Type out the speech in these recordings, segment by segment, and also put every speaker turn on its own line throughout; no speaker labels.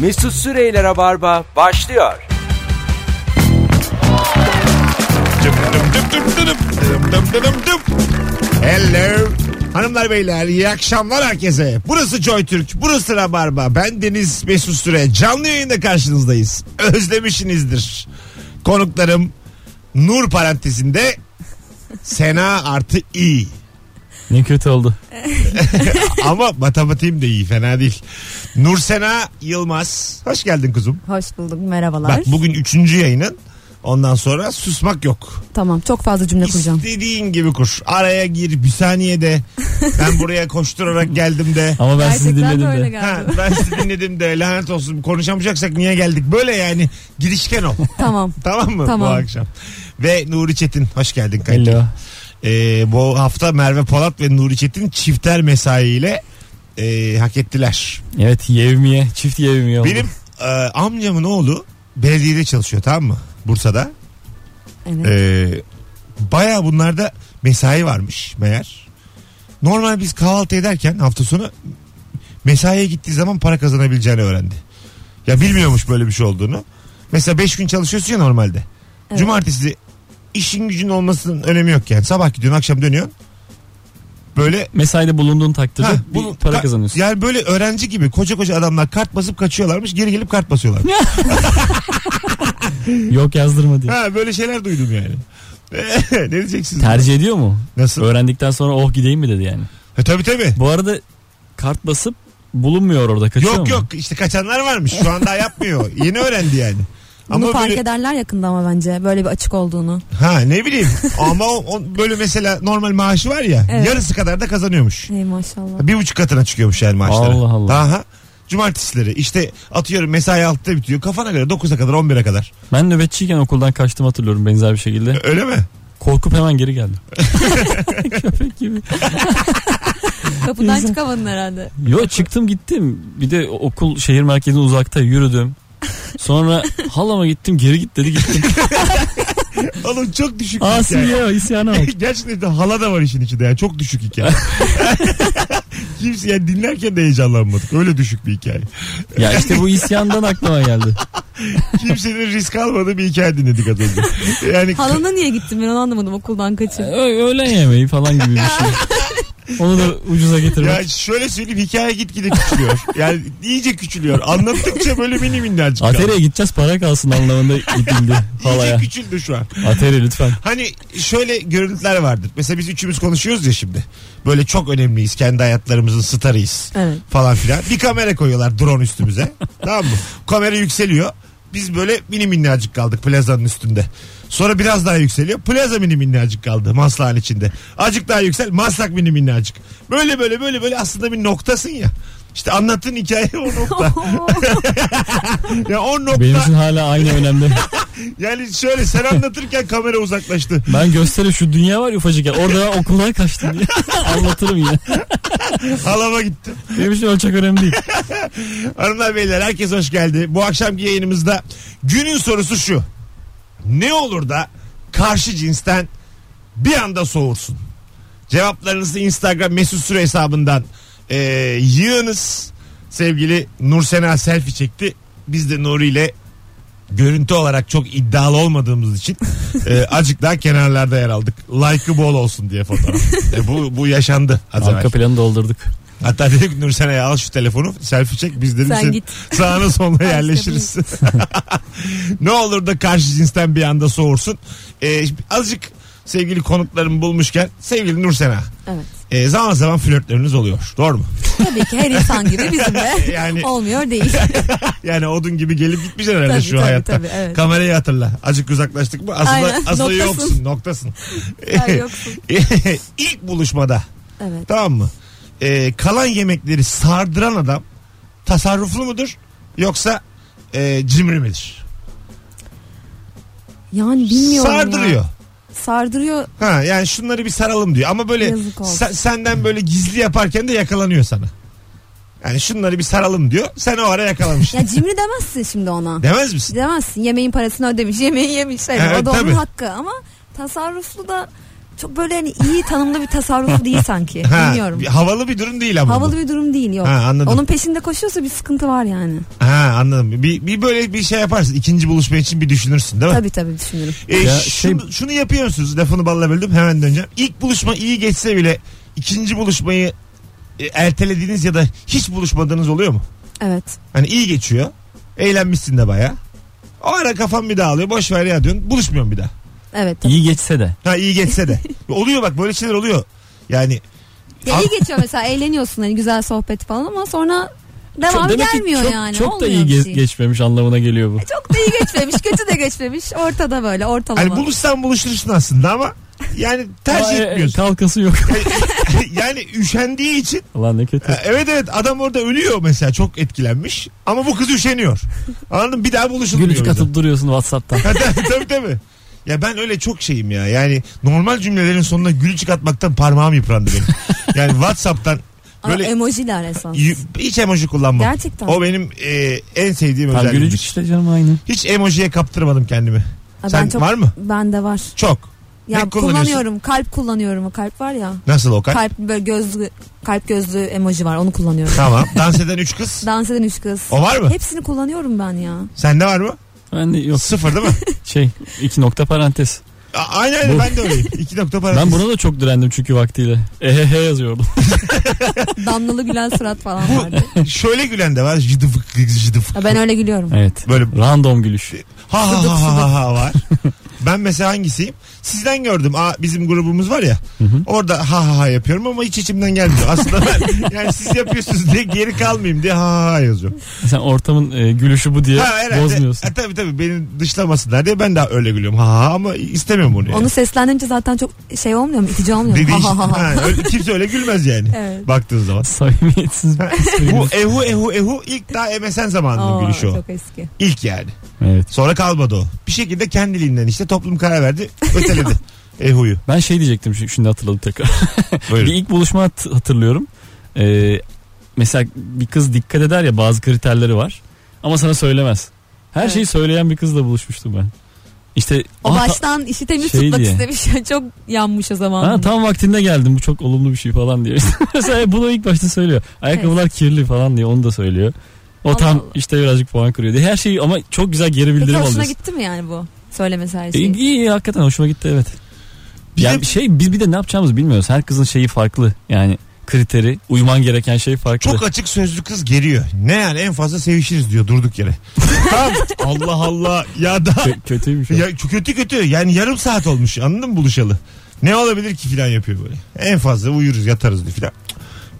Mesut Süreyler'e barba başlıyor.
Dıp dıp dıp dıp dıp dıp dıp dıp dıp dıp.
Hello. Hanımlar beyler iyi akşamlar herkese. Burası Joy Türk, burası Rabarba. Ben Deniz Mesut Süre. Canlı yayında karşınızdayız. Özlemişinizdir. Konuklarım Nur parantezinde Sena artı İ.
Ne kötü oldu.
Ama matematiğim de iyi fena değil. Nur Sena Yılmaz. Hoş geldin kuzum.
Hoş bulduk merhabalar.
Bak bugün üçüncü yayının. Ondan sonra susmak yok.
Tamam çok fazla cümle kuracağım.
İstediğin gibi kur. Araya gir bir saniye de. Ben buraya koşturarak geldim de.
Ama ben sizi
Gerçekten de
dinledim
öyle
de.
Ha,
geldi.
ben sizi dinledim de lanet olsun konuşamayacaksak niye geldik böyle yani girişken ol
tamam.
tamam mı
Tamam.
bu akşam ve Nuri Çetin hoş geldin kayıt.
Hello.
Ee, bu hafta Merve Polat ve Nuri Çetin çifter mesaiyle e, hak ettiler
Evet yevmiye. Çift yevmiye oldu.
benim e, amcamın oğlu belediyede çalışıyor tamam mı Bursa'da
Evet.
Ee, baya bunlarda mesai varmış meğer. Normal biz kahvaltı ederken hafta sonu mesaiye gittiği zaman para kazanabileceğini öğrendi. Ya bilmiyormuş böyle bir şey olduğunu. Mesela 5 gün çalışıyorsun ya normalde.
Evet.
Cumartesi işin gücün olmasının önemi yok yani. Sabah gidiyorsun akşam dönüyorsun. Böyle
Mesaide bulunduğun takdirde
Ha,
bir
bunu-
para
ka-
kazanıyorsun.
Yani böyle öğrenci gibi koca koca adamlar kart basıp kaçıyorlarmış geri gelip kart basıyorlarmış.
Yok yazdırma diye.
ha, böyle şeyler duydum yani. ne diyeceksiniz?
Tercih ediyor mu?
Nasıl?
Öğrendikten sonra oh gideyim mi dedi yani.
Ha, tabii tabii.
Bu arada kart basıp bulunmuyor orada kaçıyor
Yok
mu?
yok işte kaçanlar varmış. Şu an daha yapmıyor. Yeni öğrendi yani.
Bunu
Ama
fark
böyle,
ederler yakında ama bence böyle bir açık olduğunu.
ha ne bileyim ama o, o böyle mesela normal maaşı var ya
Evet.
yarısı kadar da kazanıyormuş.
Ey maşallah.
Bir buçuk katına çıkıyormuş yani maaşları.
Allah Allah.
Daha cumartesileri işte atıyorum mesai altıda bitiyor kafana göre 9'a kadar 11'e kadar.
Ben nöbetçiyken okuldan kaçtım hatırlıyorum benzer bir şekilde.
Öyle mi?
Korkup hemen geri geldim. Köpek gibi.
Kapıdan çıkamadın herhalde.
Yo çıktım gittim. Bir de okul şehir merkezine uzakta yürüdüm. Sonra halama gittim geri git dedi gittim.
Oğlum çok düşük bir hikaye.
Asiye isyana bak.
Gerçekten de hala da var işin içinde yani çok düşük hikaye. Kimse yani dinlerken de heyecanlanmadık. Öyle düşük bir hikaye.
Ya işte bu isyandan aklıma geldi.
Kimsenin risk almadığı bir hikaye dinledik az önce. Yani
Halana niye gittin ben onu anlamadım okuldan kaçıp.
Ö- öğlen yemeği falan gibi bir şey. Onu da ucuza getirmek.
Ya şöyle söyleyeyim hikaye gitgide küçülüyor. yani iyice küçülüyor. Anlattıkça böyle mini minnacık.
Ateri'ye
kaldı.
gideceğiz para kalsın anlamında gidildi
İyice
halaya.
küçüldü şu an.
Ateri lütfen.
Hani şöyle görüntüler vardır. Mesela biz üçümüz konuşuyoruz ya şimdi. Böyle çok önemliyiz. Kendi hayatlarımızın starıyız.
Evet.
Falan filan. Bir kamera koyuyorlar drone üstümüze. tamam mı? Kamera yükseliyor. Biz böyle mini minnacık kaldık plazanın üstünde. Sonra biraz daha yükseliyor. Plaza mini minnacık kaldı maslağın içinde. Acık daha yüksel maslak mini minnacık. Böyle böyle böyle böyle aslında bir noktasın ya. İşte anlattığın hikaye o nokta. ya o nokta
Benim için hala aynı önemli.
yani şöyle sen anlatırken kamera uzaklaştı.
Ben gösterip şu dünya var ya ufacık ya. Orada ben okuldan kaçtım diye. Anlatırım yine.
Halama gittim.
Benim için ölçek önemli değil.
Hanımlar beyler herkes hoş geldi. Bu akşamki yayınımızda günün sorusu şu. Ne olur da karşı cinsten bir anda soğursun? Cevaplarınızı Instagram mesut süre hesabından e, yığınız. Sevgili Nursena selfie çekti. Biz de Nuri ile görüntü olarak çok iddialı olmadığımız için e, acık daha kenarlarda yer aldık. Like'ı bol olsun diye fotoğraf. E, bu, bu yaşandı az evvel.
Arka planı doldurduk.
Hatta dedik Nursen'e al şu telefonu selfie çek biz dedim
Sen
sen
git.
sağına soluna
Ben
yerleşiriz. ne olur da karşı cinsten bir anda soğursun. Ee, azıcık sevgili konuklarımı bulmuşken sevgili Nursena
Evet.
e, zaman zaman flörtleriniz oluyor doğru mu?
Tabii ki her insan gibi bizim de
Yani-
olmuyor değil.
Yani odun gibi gelip gitmeyeceksin herhalde
Tabii,
şu
tabii,
hayatta.
tabii, evet.
Kamerayı hatırla azıcık uzaklaştık mı aslında,
Aynen,
aslında
noktasın.
yoksun noktasın.
Sen yoksun.
İlk buluşmada
Evet.
Tamam mı? Ee, kalan yemekleri sardıran adam tasarruflu mudur yoksa e, cimri midir?
Yani bilmiyorum ya.
Sardırıyor.
Sardırıyor.
Ha yani şunları bir saralım diyor ama böyle
Yazık olsun.
sen- senden böyle gizli yaparken de yakalanıyor sana. Yani şunları bir saralım diyor. Sen o ara yakalamışsın.
Ya cimri demezsin şimdi ona.
Demez misin?
demezsin. Yemeğin parasını ödemiş, yemeği yemiş. Hani
Evet,
o da onun
tabii.
hakkı ama tasarruflu da çok böyle hani iyi tanımlı bir tasarrufu değil sanki.
Ha,
Bilmiyorum.
bir- havalı bir durum değil ama.
Havalı
bu.
bir durum değil yok.
Ha, anladım.
Onun peşinde koşuyorsa bir sıkıntı var yani.
Ha anladım. Bir, bir böyle bir şey yaparsın. İkinci buluşma için bir düşünürsün değil mi?
Tabii tabii düşünürüm.
E,
Ya
şunu,
şey-
şunu yapıyor musunuz? Lafını balla böldüm hemen döneceğim. İlk buluşma iyi geçse bile ikinci buluşmayı e, ertelediğiniz ya da hiç buluşmadığınız oluyor mu?
Evet.
Hani iyi geçiyor. Eğlenmişsin de baya. O ara kafam bir dağılıyor. Boş ver ya diyorsun. Buluşmuyorum bir daha.
Evet. tabii.
İyi geçse de.
Ha iyi geçse de. oluyor bak böyle şeyler oluyor. Yani
Ya iyi geçiyor mesela eğleniyorsun hani güzel sohbet falan ama sonra devam
demek ki
gelmiyor
çok,
yani.
Çok da
Olmuyor
iyi
bir
ge-
şey.
geçmemiş anlamına geliyor bu.
Çok da iyi geçmemiş, kötü de geçmemiş. Ortada böyle ortalama.
hani buluşsan buluşursun aslında ama yani tercih
Ama, e,
etmiyorsun.
Kalkası yok.
yani üşendiği için
Ulan ne kötü.
Ha, Evet evet adam orada ölüyor mesela çok etkilenmiş ama bu kız üşeniyor. Anladın mı? Bir daha buluşulmuyor.
Gülücük
o yüzden.
atıp duruyorsun Whatsapp'tan.
Ha, tabii, tabii tabii. Ya ben öyle çok şeyim ya. Yani normal cümlelerin sonuna gülücük atmaktan parmağım yıprandı benim. Yani Whatsapp'tan
Ama
böyle
emojiler esas.
y- hiç emoji kullanmam.
Gerçekten.
O benim e, en sevdiğim
Tam
özelliğim.
gülücük işte canım aynı.
Hiç emojiye kaptırmadım kendimi.
Ha,
Sen
çok,
var mı?
Bende var.
Çok. Ne
Ya
kullanıyorsun?
kullanıyorum. Kalp kullanıyorum. O kalp var ya.
Nasıl o kalp?
Kalp böyle gözlü kalp gözlü emoji var. Onu kullanıyorum.
Tamam. Dans eden üç kız.
Dans eden üç kız.
O var mı?
Hepsini kullanıyorum ben ya.
Sende var mı?
Ben de yok
Sıfır değil mi?
şey iki nokta parantez.
A- aynen aynen
Bu-
ben de öyleyim. İki nokta parantez.
Ben buna da çok direndim çünkü vaktiyle. Ehehe yazıyordum.
Damlalı gülen surat falan vardı.
Şöyle gülen de var. Jıdıfık jıdıfık.
Ya ben öyle gülüyorum.
Evet.
Böyle
Random gülüş.
ha ha
Sıdık
ha ha, ha var. ben mesela hangisiyim? Sizden gördüm. Aa, bizim grubumuz var ya. Orada ha ha ha yapıyorum ama hiç içimden gelmiyor. Aslında ben yani siz yapıyorsunuz diye geri kalmayayım diye ha ha ha yazıyorum.
Sen ortamın e, gülüşü bu diye
Ha herhalde.
bozmuyorsun.
Ha, tabii tabii beni dışlamasınlar diye ben daha öyle gülüyorum. Ha ha ama istemiyorum bunu yani.
Onu seslendirince zaten çok şey olmuyor mu? İtici olmuyor mu?
Dediği-
Ha, ha, ha, ha.
şey- ha, öyle- kimse öyle gülmez yani.
Evet.
Baktığın zaman.
Samimiyetsiz bir
Bu
espri.
ehu ehu ehu ilk daha MSN zamanının
Aa,
gülüşü o.
çok eski.
İlk yani.
Evet.
Sonra kalmadı o. Bir şekilde kendiliğinden işte toplum karar verdi. Öteledi. Ehu'yu.
Ben şey diyecektim şi- şimdi hatırladım tekrar. bir
Buyurun.
ilk buluşma hat- hatırlıyorum. Ee, mesela bir kız dikkat eder ya bazı kriterleri var. Ama sana söylemez. Her
Evet.
şeyi söyleyen bir kızla buluşmuştum ben. İşte
O
"Aa, ta-
baştan işi temiz
şey
tutmak
diye.
istemiş. çok yanmış o zaman.
Ha, tam vaktinde geldim bu çok olumlu bir şey falan diyor. Mesela bunu ilk başta söylüyor. Ayakkabılar kirli falan diye onu da söylüyor. O
Allah
tam
Allah.
işte birazcık puan kırıyor diye. Her şeyi ama çok güzel geri
Peki
bildirim
hoşuna
alıyorsun.
gitti mi yani bu? Söylemesi her
E,
şeyi.
İyi, iyi, hakikaten hoşuma gitti evet.
Bir
yani
de-
şey biz bir de ne yapacağımızı bilmiyoruz. Her kızın şeyi farklı. Yani kriteri, uyman gereken şey farklı.
Çok açık sözlü kız geliyor. Ne yani en fazla sevişiriz diyor durduk yere. tamam. Allah Allah. Ya da
Kö- kötüymüş. o.
ya kötü kötü. Yani yarım saat olmuş. Anladın mı buluşalı? Ne olabilir ki filan yapıyor böyle. En fazla uyuruz yatarız diyor filan.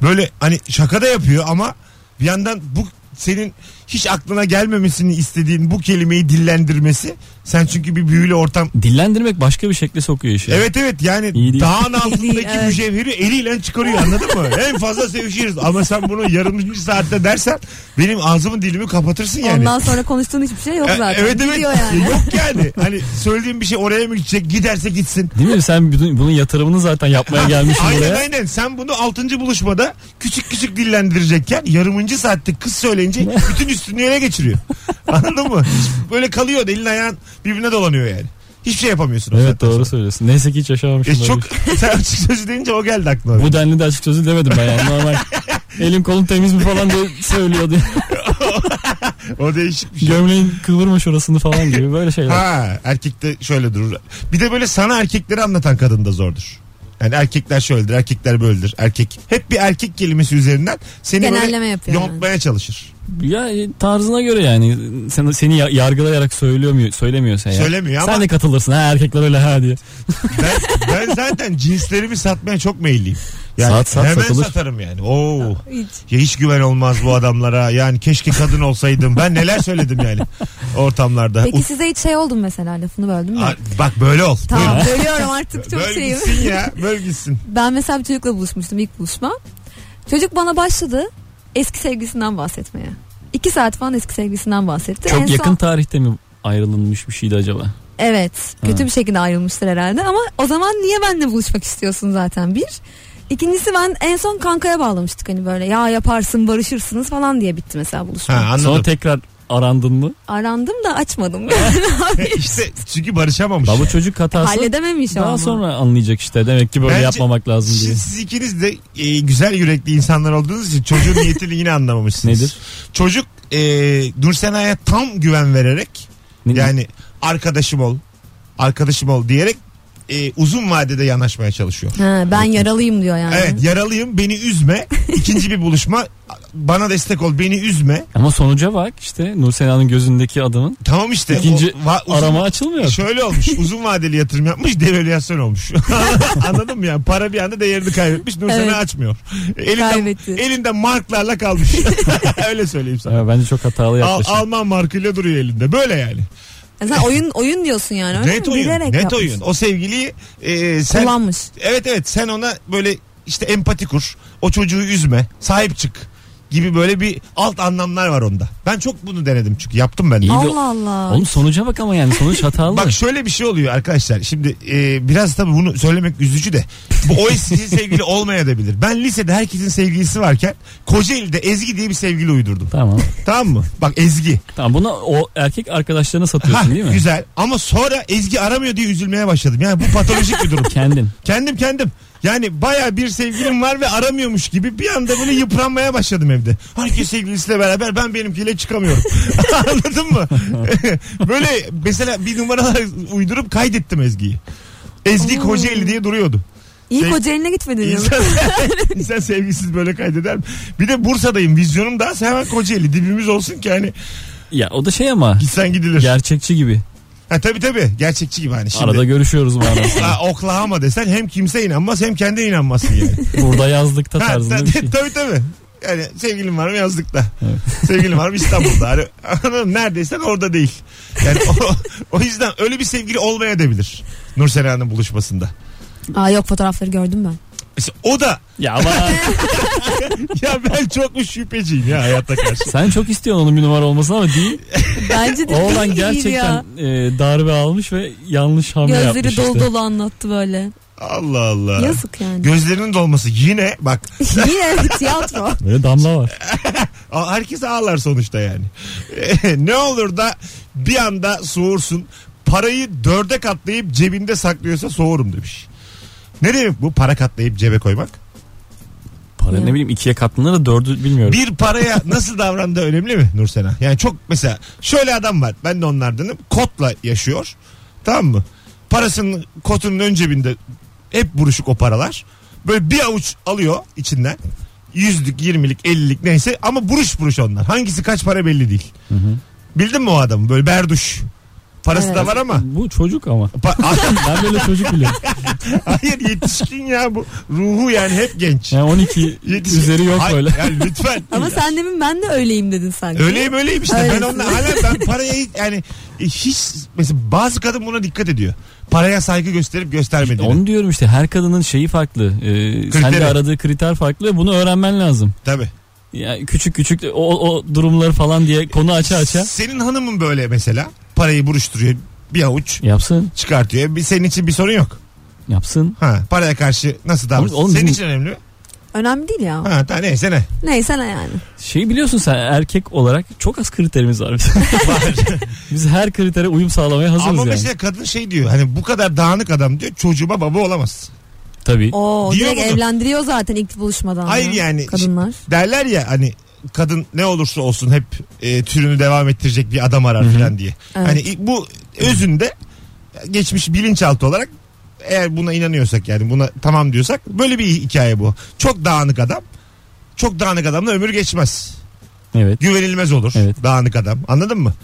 Böyle hani şaka da yapıyor ama bir yandan bu senin hiç aklına gelmemesini istediğin bu kelimeyi dillendirmesi. Sen çünkü bir büyülü ortam
Dillendirmek başka bir şekle sokuyor işi.
Evet evet yani
İyi değil.
dağın altındaki
Evet.
mücevheri eliyle çıkarıyor anladın mı? en fazla sevişiriz ama sen bunu yarımcı saatte dersen benim ağzımı dilimi kapatırsın yani.
Ondan sonra konuştuğun hiçbir şey yok
E,
zaten.
Evet evet
Gidiyor yani.
yok yani hani söylediğim bir şey oraya mı gidecek giderse gitsin.
Değil mi? Sen bütün- bunun yatırımını zaten yapmaya gelmişsin
Aynen
buraya.
aynen sen bunu 6. buluşmada küçük küçük dillendirecekken yarımıncı saatte kız söyleyince bütün üstünü ele geçiriyor. Anladın mı? Böyle kalıyor elin ayağın birbirine dolanıyor yani. Hiçbir şey yapamıyorsun. o
Evet
saatten
doğru
sonra.
söylüyorsun. Neyse ki hiç yaşamamışım.
E,
böyle
çok
bir şey.
sen açık sözü deyince o geldi aklıma.
Bu denli de açık sözü demedim ben yani normal. Elin kolun temiz mi falan diye söylüyordu.
O değişik bir şey.
Gömleğin kıvırma şurasını falan gibi böyle şeyler.
Ha erkekte şöyle durur. Bir de böyle sana erkekleri anlatan kadın da zordur. Yani erkekler şöyledir, erkekler böyledir. Erkek hep bir erkek kelimesi üzerinden seni
Genelleme
böyle
yapıyor yani.
yontmaya çalışır.
Ya e, tarzına göre yani sen, seni ya- yargılayarak söylüyor mu söylemiyorsa ya.
Söylemiyor ama-
Sen de katılırsın ha erkekler öyle ha diye.
Ben, ben zaten cinslerimi satmaya çok meyilliyim. Yani
Sat, sat,
hemen
satılır.
satarım yani. Oo.
Hiç.
Ya hiç güven olmaz bu adamlara. Yani keşke kadın olsaydım. Ben neler söyledim yani ortamlarda.
Peki
Ut-
size hiç şey oldu mu mesela lafını böldüm mü?
Aa, Bak böyle ol.
Tamam
Böyle-
görüyorum artık çok
Böyle
şeyim.
gitsin ya. Böyle gitsin.
Ben mesela bir çocukla buluşmuştum ilk buluşma. Çocuk bana başladı eski sevgilisinden bahsetmeye. İki saat falan eski sevgilisinden bahsetti. En
Çok
son-
yakın tarihte mi ayrılınmış bir şeydi acaba?
Evet. Kötü bir şekilde ayrılmıştır herhalde ama o zaman niye benimle buluşmak istiyorsun zaten bir. İkincisi ben en son kankaya bağlamıştık hani böyle ya yaparsın barışırsınız falan diye bitti mesela buluşma.
Ha, anladım.
Sonra tekrar arandın mı?
Arandım da açmadım.
İşte çünkü barışamamış.
Daha bu çocuk hatası
Halledememiş
daha
ama.
sonra anlayacak işte. Demek ki böyle
Bence-
yapmamak lazım diye.
Şimdi siz ikiniz de e, güzel yürekli insanlar olduğunuz için çocuğun niyetini yine anlamamışsınız.
Nedir?
Çocuk e, Nursena'ya tam güven vererek
Ne-
yani arkadaşım ol, arkadaşım ol diyerek e, uzun vadede yanaşmaya çalışıyor.
Ha, ben yaralıyım diyor yani.
Evet yaralıyım beni üzme. İkinci bir buluşma bana destek ol beni üzme.
Ama sonuca bak işte Nur Sena'nın gözündeki adamın
Tamam işte.
İkinci
o va- uzun-
arama açılmıyor.
Şöyle olmuş. Uzun vadeli yatırım yapmış, devalüasyon olmuş. Anladın mı yani? Para bir anda değerini kaybetmiş. Nursena
Evet.
açmıyor. Elinde,
Kaybetti.
elinde marklarla kalmış. Öyle söyleyeyim sana.
Ha, bence çok hatalı
Al,
yaklaşım.
Alman markıyla duruyor elinde. Böyle yani.
Ya Sen oyun oyun diyorsun yani. Öyle
net
mi?
oyun.
Bilerek
net
yapmış.
oyun. O sevgiliyi e, sen
Kullanmış.
Evet evet sen ona böyle işte empati kur. O çocuğu üzme. Sahip çık gibi böyle bir alt anlamlar var onda. Ben çok bunu denedim çünkü yaptım ben de.
İyi de-
Allah Allah.
Oğlum sonuca bak ama yani sonuç hatalı.
Bak şöyle bir şey oluyor arkadaşlar. Şimdi e, biraz tabii bunu söylemek üzücü de. Bu o eski sevgili olmayabilir. Ben lisede herkesin sevgilisi varken Kocaeli'de Ezgi diye bir sevgili uydurdum.
Tamam.
Tamam mı? Bak Ezgi.
Tamam bunu o erkek arkadaşlarına
Ha,
satıyorsun değil mi?
güzel. Ama sonra Ezgi aramıyor diye üzülmeye başladım. Yani bu patolojik bir durum.
Kendin.
kendim kendim. Yani baya bir sevgilim var ve aramıyormuş gibi bir anda böyle yıpranmaya başladım evde. Herkes sevgilisiyle beraber ben benimkiyle çıkamıyorum. Anladın mı? böyle mesela bir numaralar uydurup kaydettim Ezgi'yi. Ezgi
Oo.
Kocaeli diye duruyordu.
İyi
Şey-
koca eline gitmedin ya.
İnsan, insan sevgisiz böyle kaydeder mi? Bir de Bursa'dayım. Vizyonum daha hemen Kocaeli. Dibimiz olsun ki hani
Ya o da şey ama
gitsen gidilir.
gerçekçi gibi.
ha, tabii tabii. Gerçekçi gibi hani şimdi.
Arada görüşüyoruz manasında.
Ha, Oklahoma desen hem kimse inanmaz hem kendin inanmazsın yani.
Burada yazlıkta
Ha,
tarzında
ta-
bir şey.
Tabii tabii. Yani sevgilim var mı yazlıkta. Sevgilim var mı İstanbul'da. Hani, anladın mı? neredeyse orada değil. Yani o, o yüzden öyle bir sevgili olmayabilir. Nur Sena'nın buluşmasında.
Aa yok fotoğrafları gördüm ben.
İşte o da
Ya ama
ya ben çok mu şüpheciyim ya hayatta karşı.
sen çok istiyorsun onun bir numara olmasını ama değil.
Bence de
O olan
değil ya.
gerçekten e, darbe almış ve yanlış hamle
Gözleri
yapmış
dolu
işte.
dolu anlattı böyle.
Allah Allah.
Yazık yani.
Gözlerinin dolması yine bak
Yine tiyatro.
Böyle damla var.
a- herkes ağlar sonuçta yani. ne olur da bir anda soğursun. Parayı dörde katlayıp cebinde saklıyorsa soğurum demiş. Ne demek bu para katlayıp cebe koymak?
Para ne bileyim ikiye katlanır da dördü bilmiyorum.
Bir paraya nasıl davrandığı önemli mi Nursena? Yani çok mesela şöyle adam var. Ben de onlardanım. Kotla yaşıyor. Tamam mı? Parasının kotunun ön cebinde hep buruşuk o paralar. Böyle bir avuç alıyor içinden. Yüzlük, yirmilik, ellilik neyse ama buruş buruş onlar. Hangisi kaç para belli değil. Bildin mi o adamı? Böyle berduş. Parası da
Evet.
var ama.
Bu çocuk ama.
Pa-
Ben böyle çocuk biliyorum.
Hayır yetişkin ya bu. Ruhu yani hep genç.
Yani 12
Yetişkin.
üzeri yok
Hayır,
böyle.
Yani lütfen.
Ama sen demin ben de öyleyim dedin sanki.
Öyleyim öyleyim işte. Ben
Öylesin.
onunla hala ben paraya hiç- yani hiç mesela bazı kadın buna dikkat ediyor. Paraya saygı gösterip göstermediğini.
Onu diyorum işte her kadının şeyi farklı. Ee, sen
Kriteri.
de aradığı kriter farklı. Bunu öğrenmen lazım.
Tabii.
Yani küçük küçük o, o durumları falan diye konu aça aça
Senin hanımın böyle mesela parayı buruşturuyor bir avuç
yapsın
çıkartıyor. Bir, senin için bir sorun yok.
yapsın.
Ha, paraya karşı nasıl davranıyorsun?
oğlum
Senin
bizim-
için önemli mi?
Önemli değil ya.
Ha, ta, neyse ne.
Neyse ne yani.
Şey biliyorsun sen erkek olarak çok az kriterimiz var. bizim. Biz her kritere uyum sağlamaya hazırız
Ama
yani.
mesela kadın şey diyor hani bu kadar dağınık adam diyor çocuğuma baba olamaz.
Tabii.
Oo
Diyor
direkt
bunu.
evlendiriyor zaten ilk buluşmadan.
Hayır
ya.
yani.
Kadınlar.
Derler ya hani kadın ne olursa olsun hep e, türünü devam ettirecek bir adam arar falan diye.
Evet.
Hani i- bu özünde geçmiş bilinçaltı olarak eğer buna inanıyorsak yani buna tamam diyorsak böyle bir hikaye bu. Çok dağınık adam. Çok dağınık adamla ömür geçmez.
Evet.
Güvenilmez olur
Evet.
dağınık adam. Anladın mı?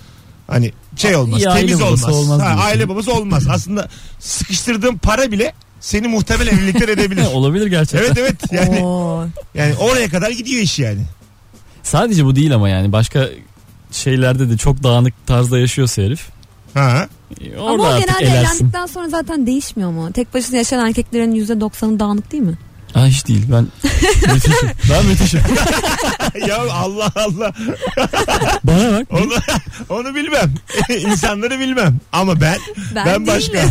Hani şey olmaz,
Ya aile
temiz olmaz.
babası olmaz
Ha,
diyorsun.
aile babası olmaz. Aslında sıkıştırdığın para bile seni muhtemelen evlilikten edebilir.
Ha, olabilir gerçekten.
evet evet yani
Oo.
yani oraya kadar gidiyor iş yani.
Sadece bu değil ama yani başka şeylerde de çok dağınık tarzda yaşıyorsa herif.
Ha.
e,
Ama
Orada
o
artık
genelde
elersin.
evlendikten sonra zaten değişmiyor mu? Tek başına yaşayan erkeklerin %90'ı dağınık değil mi?
Aa, hiç değil ben müthişim. Ben müthişim.
ya Allah Allah.
Bana bak.
Onu, onu bilmem. İnsanları bilmem. Ama ben ben,
değilim.
başka.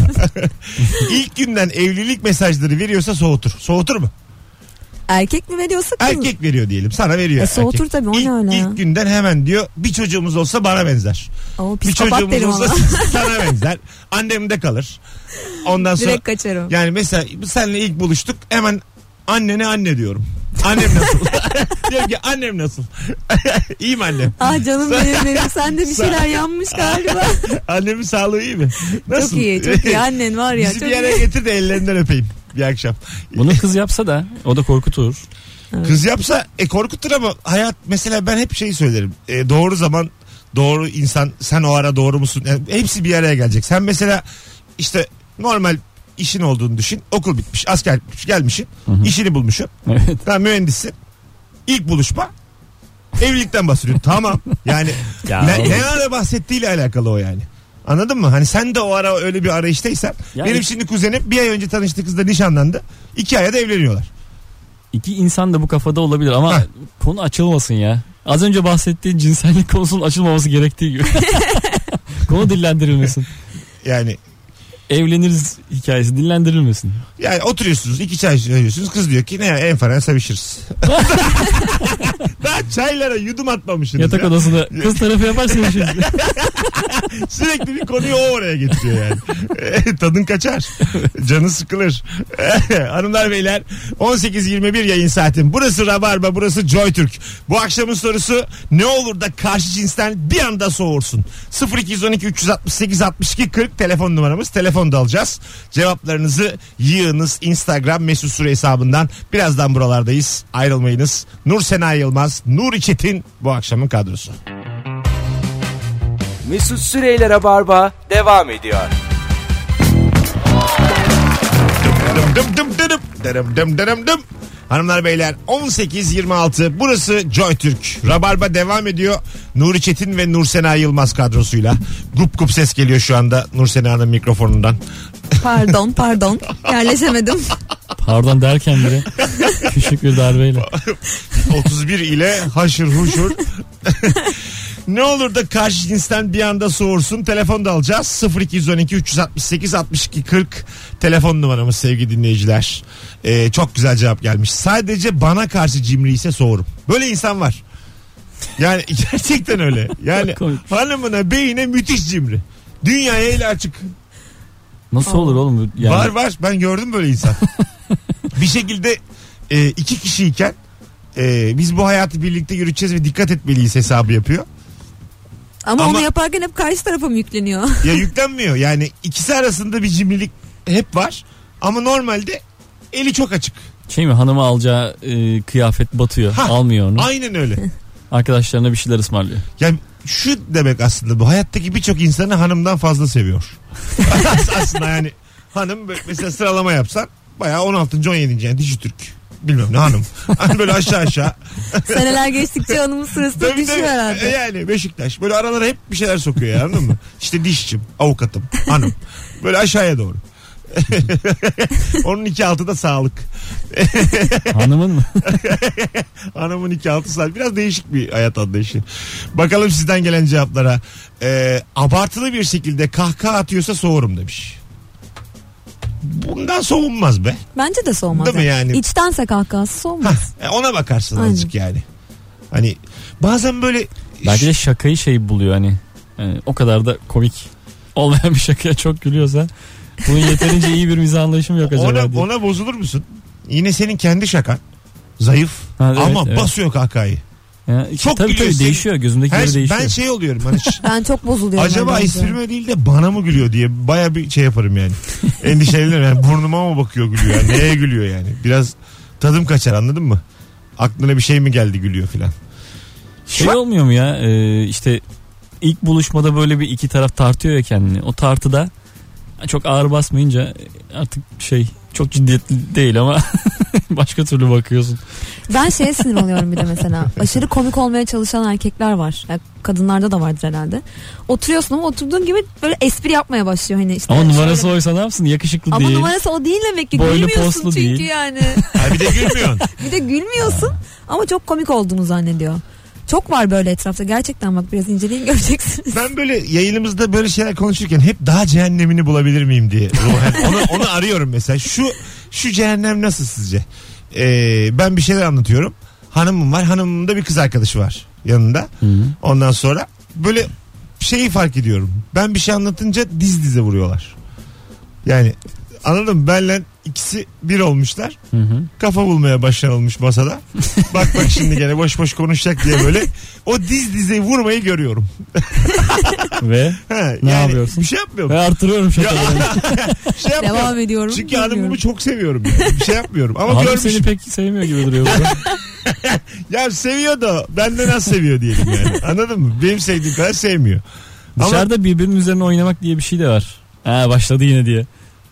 İlk günden evlilik mesajları veriyorsa soğutur. Soğutur mu?
Erkek mi veriyorsa kız mı?
Erkek veriyor diyelim sana veriyor.
E, soğutur
erkek.
tabii, o ne
İlk-
öyle ya?
İlk günden hemen diyor bir çocuğumuz olsa bana benzer.
Oo,
bir
psikopat
çocuğumuz
derim
olsa
ona.
sana benzer. Annem de kalır. Ondan sonra
Direkt kaçarım.
yani mesela senle ilk buluştuk hemen annene anne diyorum. Annem nasıl? diyorum ki annem nasıl? iyi mi annem?
Ah canım benim benim sende bir
Sa-
şeyler yanmış galiba.
Annemin sağlığı iyi mi? Nasıl?
çok iyi çok iyi annen var ya.
Bizi
çok
bir yere
iyi.
getir de ellerinden öpeyim bir akşam.
Bunu kız yapsa da o da korkutur.
Kız yapsa e korkutur ama hayat mesela ben hep şeyi söylerim. E, doğru zaman doğru insan sen o ara doğru musun? Yani hepsi bir araya gelecek. Sen mesela işte normal işin olduğunu düşün. Okul bitmiş, asker bitmiş, gelmişsin. işini bulmuşsun.
Evet.
Tamam mühendissin. İlk buluşma evlilikten bahsediyorsun. tamam. Yani
Ya
ne,
oğlum.
ne ara bahsettiğiyle alakalı o yani. Anladın mı? Hani sen de o ara öyle bir arayıştaysan.
Yani-
benim şimdi kuzenim bir ay önce tanıştığı kızla nişanlandı. İki aya da evleniyorlar.
İki insan da bu kafada olabilir ama
Heh.
konu açılmasın ya. Az önce bahsettiğin cinsellik konusunun açılmaması gerektiği gibi. konu dillendirilmesin.
Yani
Evleniriz hikayesi dillendirilmesin.
Yani oturuyorsunuz iki çay içiyorsunuz kız diyor ki ne en fena sevişiriz. Daha çaylara yudum atmamışsınız.
Yatak
ya.
odasında kız tarafı yaparsa bir şey.
Sürekli bir konuyu o oraya getiriyor yani. Eh, Tadın kaçar. Canı sıkılır. E, Hanımlar beyler 18.21 yayın saatin. Burası Rabarba burası JoyTürk. Bu akşamın sorusu ne olur da karşı cinsten bir anda soğursun. 0212 368 62 40 telefon numaramız. Telefon da alacağız. Cevaplarınızı yığınız Instagram mesut süre hesabından. Birazdan buralardayız. Ayrılmayınız. Nur Sena Yılmaz, Nuri Çetin bu akşamın kadrosu.
Mesut Süreyler'e barba devam ediyor.
Dım dım dım dım dım. Dırım dım dırım dım. Hanımlar beyler 18-26 burası Joy Türk. Rabarba devam ediyor. Nuri Çetin ve Nursena Yılmaz kadrosuyla. Gup gup ses geliyor şu anda Nursena'nın mikrofonundan.
Pardon pardon yerleşemedim.
Pardon derken bile küçük bir darbeyle.
31 ile haşır huşur. ne olur da karşı cinsten bir anda soğursun. Telefon da alacağız. 0212 368 62 40 telefon numaramız sevgili dinleyiciler. Ee, çok güzel cevap gelmiş. Sadece bana karşı cimri ise soğurum. Böyle insan var. Yani gerçekten öyle. Yani
Komik.
hanımına beyine müthiş cimri. Dünyaya eli açık.
Nasıl olur oğlum? bu? Yani
Var var ben gördüm böyle insan. bir şekilde e, iki kişiyken e, biz bu hayatı birlikte yürüteceğiz ve dikkat etmeliyiz hesabı yapıyor.
Ama,
Ama-
onu yaparken hep karşı tarafa mı yükleniyor?
Ya yüklenmiyor yani ikisi arasında bir cimrilik hep var ama normalde eli çok açık.
Şey mi hanıma alacağı e, kıyafet batıyor.
Ha,
Almıyor onu.
Aynen öyle.
Arkadaşlarına bir şeyler ısmarlıyor.
Yani şu demek aslında bu hayattaki birçok insanı hanımdan fazla seviyor. As- aslında yani hanım böyle mesela sıralama yapsan bayağı 16. 17. yani Dijitürk bilmem ne hanım. Hani böyle aşağı aşağı
Seneler geçtikçe onun sırası
Tabii,
düşüyor
tabii. E,
herhalde.
Yani Beşiktaş. Böyle aralara hep bir şeyler sokuyor ya anladın mı? İşte dişçim, avukatım, hanım. Böyle aşağıya doğru. Onun iki altı da sağlık.
Hanımın mı?
Hanımın iki altı sağlık. Biraz değişik bir hayat anlayışı. Bakalım sizden gelen cevaplara. E, abartılı bir şekilde kahkaha atıyorsa soğurum demiş. Bundan soğunmaz be.
Bence de soğumaz.
Değil mi yani?
İçtense kahkahası soğumaz.
E, ona bakarsın
Aynen.
azıcık yani. Hani bazen böyle
Belki de şakayı şey buluyor hani. Yani o kadar da komik olmayan bir şakaya çok gülüyorsa bunun yeterince iyi bir mizah anlayışım yok acaba
ona,
diye.
ona bozulur musun? Yine senin kendi şakan. Zayıf.
Ha, evet,
ama
evet.
basıyor kahkahayı.
Ya, işte
çok
tabii
gülüyor
tabii
seni.
değişiyor gözümdekiler
Her,
değişiyor.
ben şey oluyorum. Hani, ş-
Ben çok bozuluyorum.
acaba
bence.
esprime değil de bana mı gülüyor diye baya bir şey yaparım yani. Endişelenirim. Yani burnuma mı bakıyor gülüyor? Yani neye gülüyor yani? Biraz tadım kaçar anladın mı? Aklına bir şey mi geldi gülüyor filan.
Şey olmuyor mu ya e, işte ilk buluşmada böyle bir iki taraf tartıyor ya kendini. O tartıda çok ağır basmayınca artık şey çok ciddiyetli değil ama başka türlü bakıyorsun.
Ben şeye sinir oluyorum bir de mesela. Aşırı komik olmaya çalışan erkekler var. Yani kadınlarda da vardır herhalde. Oturuyorsun ama oturduğun gibi böyle espri yapmaya başlıyor. Hani işte
Ama
şöyle-
numarası oysa ne yapsın yakışıklı
Ama
değil.
numarası o değil demek ki.
Boylu
gülmüyorsun
poslu
çünkü
değil.
yani.
Ha, bir de gülmüyorsun.
Bir de gülmüyorsun ama çok komik olduğunu zannediyor. Çok var böyle etrafta. Gerçekten bak biraz inceleyin göreceksiniz.
Ben böyle yayınımızda böyle şeyler konuşurken hep daha cehennemini bulabilir miyim diye. ruhen. onu, onu arıyorum mesela. Şu şu cehennem nasıl sizce? e, ben bir şeyler anlatıyorum. Hanımım var. Hanımımın da bir kız arkadaşı var yanında. Ondan sonra böyle şeyi fark ediyorum. Ben bir şey anlatınca diz dize vuruyorlar. Yani anladın mı? Benle ikisi bir olmuşlar.
Hı hı.
Kafa bulmaya başlanılmış masada. bak bak şimdi gene boş boş konuşacak diye böyle. O diz dize vurmayı görüyorum.
Ve
Ha,
Ne
yani
yapıyorsun?
Bir şey yapmıyorum.
ve artırıyorum şakalarını.
Bir şey yapmıyorum.
Devam ediyorum.
Çünkü
bilmiyorum.
hanımımı çok seviyorum. yani. Bir şey yapmıyorum. Ama
Hanım
görmüşüm.
seni pek sevmiyor gibi duruyor. burada.
Ya seviyor da benden az seviyor diyelim yani. Anladın mı? Benim sevdiğim kadar sevmiyor. Ama-
Dışarıda birbirinin üzerine oynamak diye bir şey de var. Ha başladı yine diye.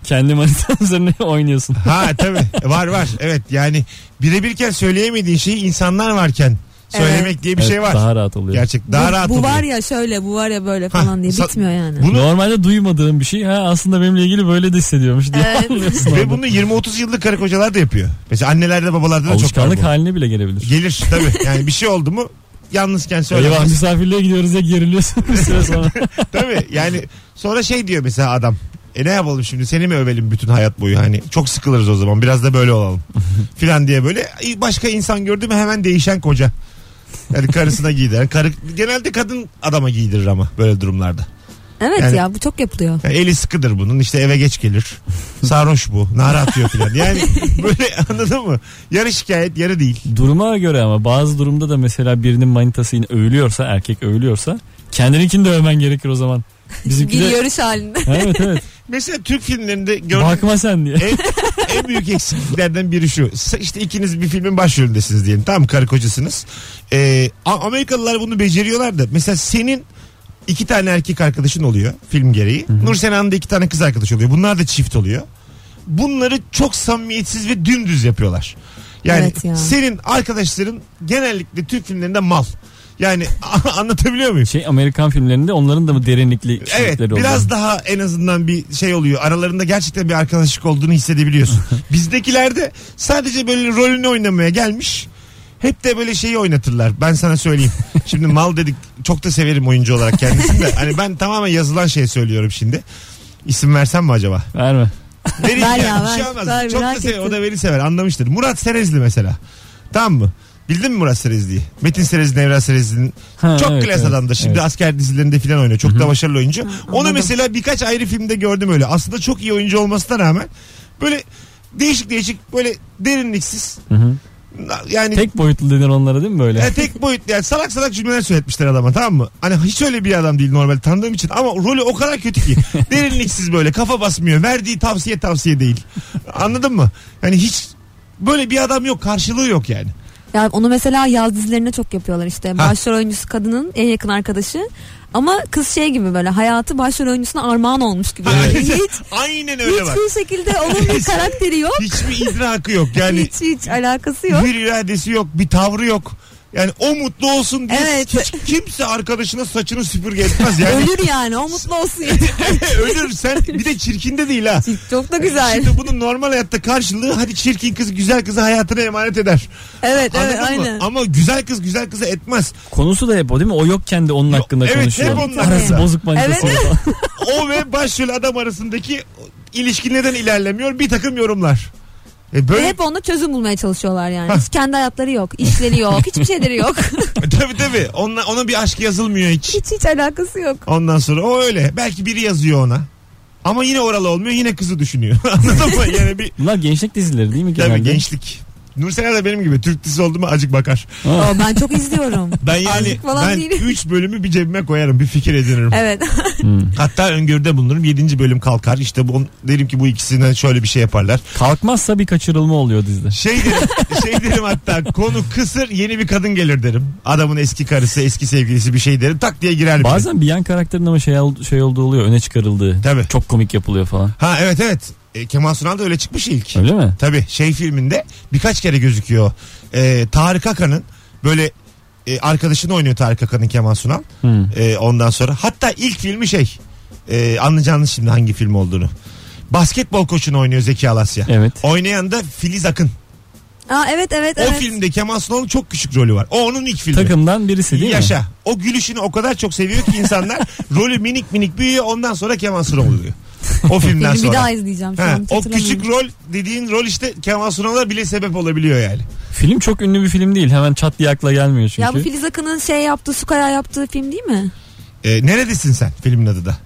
Kendi manitanın üzerine oynuyorsun.
Ha tabii E, var var. Evet yani birebirken söyleyemediğin şeyi insanlar varken söylemek diye bir şey
Evet,
var.
Daha rahat oluyor.
Gerçek daha
bu,
rahat
bu var
oluyor.
ya şöyle bu var ya böyle
Hah,
falan diye
sa-
bitmiyor yani.
Bunu-
Normalde duymadığım bir şey ha aslında benimle ilgili böyle de hissediyormuş diye
Evet.
anlıyorsun
Ve
orada.
bunu 20-30 yıllık karı kocalar da yapıyor. Mesela annelerde babalarda da çok var
Alışkanlık
bu.
haline bile gelebilir.
Gelir tabii. Yani bir şey oldu mu yalnızken
Eyvah
söylemez.
misafirliğe gidiyoruz ya geriliyorsun bir süre sonra.
tabii yani sonra şey diyor mesela adam. E ne yapalım şimdi seni mi övelim bütün hayat boyu hani çok sıkılırız o zaman biraz da böyle olalım filan diye böyle başka insan gördü mü hemen değişen koca. Yani karısına giydiren karı genelde kadın adama giydirir ama böyle durumlarda.
Evet
Yani-
ya bu çok yapılıyor.
Yani eli sıkıdır bunun işte eve geç gelir. Sarhoş bu. Nara atıyor filan. Yani böyle anladın mı? Yarı şikayet yarı değil.
Duruma göre ama bazı durumda da mesela birinin manitasını övülüyorsa erkek övülüyorsa kendininkini de övmen gerekir o zaman. Bizimki
Bir
de...
yarış halinde.
Evet evet.
Mesela Türk filmlerinde gördüğüm
Bakma sen diye.
en, en büyük eksikliklerden biri şu. S- İşte ikiniz bir filmin başrolündesiniz diyelim. Tamam karı kocasınız. Ee, A- Amerikalılar bunu beceriyorlar da. Mesela senin iki tane erkek arkadaşın oluyor film gereği. Nur Sena'nın da iki tane kız arkadaşı oluyor. Bunlar da çift oluyor. Bunları çok samimiyetsiz ve dümdüz yapıyorlar. Yani
Evet ya.
senin arkadaşların genellikle Türk filmlerinde mal. Yani anlatabiliyor muyum?
Şey Amerikan filmlerinde onların da mı derinlikli
Evet
kişilikleri
biraz
oluyor?
daha en azından bir şey oluyor. Aralarında gerçekten bir arkadaşlık olduğunu hissedebiliyorsun. Bizdekilerde sadece böyle rolünü oynamaya gelmiş. Hep de böyle şeyi oynatırlar. Ben sana söyleyeyim. Şimdi mal dedik çok da severim oyuncu olarak kendisini de. Hani ben tamamen yazılan şey söylüyorum şimdi. İsim versem mi acaba?
Verme.
Verin
Ver ya,
bir şey
ver.
olmaz.
Ver,
Çok da
merak
sever. O
ettim.
da veri sever. Anlamıştır. Murat Serezli mesela. Tamam mı? Bildin mi Murat Serezli'yi? Metin Serezli, Nevra Serezli'nin
Ha,
çok
evet,
klas
evet,
adamdır. Şimdi
evet.
asker dizilerinde falan oynuyor. Çok da başarılı oyuncu. Onu
anladım.
mesela birkaç ayrı filmde gördüm öyle. Aslında çok iyi oyuncu olmasına rağmen böyle değişik değişik böyle derinliksiz
Hı hı.
yani tek,
Tek boyutlu denir onlara değil mi böyle?
yani tek boyutlu yani salak salak cümleler söyletmişler adama tamam mı? Hani hiç öyle bir adam değil normalde tanıdığım için ama rolü o kadar kötü ki derinliksiz böyle kafa basmıyor. Verdiği tavsiye tavsiye değil. Anladın mı? Yani hiç böyle bir adam yok karşılığı yok yani.
Yani onu mesela yaz dizilerine çok yapıyorlar işte. Başrol oyuncusu kadının en yakın arkadaşı. Ama kız şey gibi böyle hayatı başrol oyuncusuna armağan olmuş gibi. Yani hiç
Aynen öyle var.
hiçbir şekilde onun bir karakteri yok.
Hiçbir idraki yok yani.
hiç hiç alakası yok.
bir iradesi yok, bir tavrı yok. Yani o mutlu olsun diye
Evet.
hiç kimse arkadaşına saçını süpürge etmez yani.
Ölür yani o mutlu olsun. ya.
Ölür sen bir de çirkin de değil ha.
çok da güzel.
Şimdi bunun normal hayatta karşılığı hadi çirkin kız güzel kızı hayatına emanet eder.
Evet
Anladın
evet
mı?
aynen.
Ama güzel kız güzel kızı etmez.
Konusu da hep o değil mi? O yokken de onun hakkında
evet,
konuşuyor.
hep onun
Arası
hakkında.
bozuk manitası.
Evet.
falan.
O ve başrol adam arasındaki ilişki neden ilerlemiyor bir takım yorumlar. E
Ve
böyle
hep onda çözüm bulmaya çalışıyorlar yani.
Hah.
Hiç kendi hayatları yok, işleri yok, hiçbir şeyleri yok.
tabii tabii ona, ona bir aşk yazılmıyor hiç.
hiç hiç alakası yok.
Ondan sonra o öyle. Belki biri yazıyor ona. Ama yine oralı olmuyor yine kızı düşünüyor. Anladın mı? Yani bir
Bunlar gençlik dizileri değil mi
Tabii
genelde?
gençlik. Nursel da benim gibi Türk dizisi oldu mu acık bakar.
Ha.
Aa, ben çok izliyorum.
Ben yani
Azıcık falan
ben
değil.
3 bölümü bir cebime koyarım bir fikir edinirim.
Evet.
Hmm.
Hatta öngörüde bulunurum 7. bölüm kalkar işte bu, derim ki bu ikisinden şöyle bir şey yaparlar.
Kalkmazsa bir kaçırılma oluyor dizide.
Şey derim, şey derim hatta konu kısır yeni bir kadın gelir derim. Adamın eski karısı eski sevgilisi bir şey derim tak diye girer. bir şey.
Bazen bir yan karakterin ama şey, ol- şey olduğu oluyor öne çıkarıldığı.
Tabii.
Çok komik yapılıyor falan.
Ha evet evet E, Kemal Sunal da öyle çıkmış ilk.
Öyle mi?
Tabii şey filminde birkaç kere gözüküyor. Ee, Tarık Akan'ın böyle e, arkadaşını oynuyor Tarık Akan'ın Kemal Sunal.
Hmm.
Ee, ondan sonra hatta ilk filmi şey e, anlayacağınız şimdi hangi film olduğunu. Basketbol koçunu oynuyor Zeki Alasya.
Evet.
Oynayan da Filiz Akın.
Aa evet evet
O
evet.
filmde Kemal Sunal'ın çok küçük rolü var. O onun ilk filmi.
Takımdan birisi değil mi?
Yaşa. O gülüşünü o kadar çok seviyor ki insanlar rolü minik minik büyüyor ondan sonra Kemal Sunal oluyor. O filmden
Filmi
sonra.
bir daha izleyeceğim şu
Ha,
an.
o
hatırlamıyorum.
küçük rol dediğin rol işte Kemal Sunal'a bile sebep olabiliyor yani.
Film çok ünlü bir film değil. Hemen çat diye akla gelmiyor çünkü.
Ya bu Filiz Akın'ın şey yaptığı, su kayağı yaptığı film değil mi?
Ee, neredesin sen filmin adı da?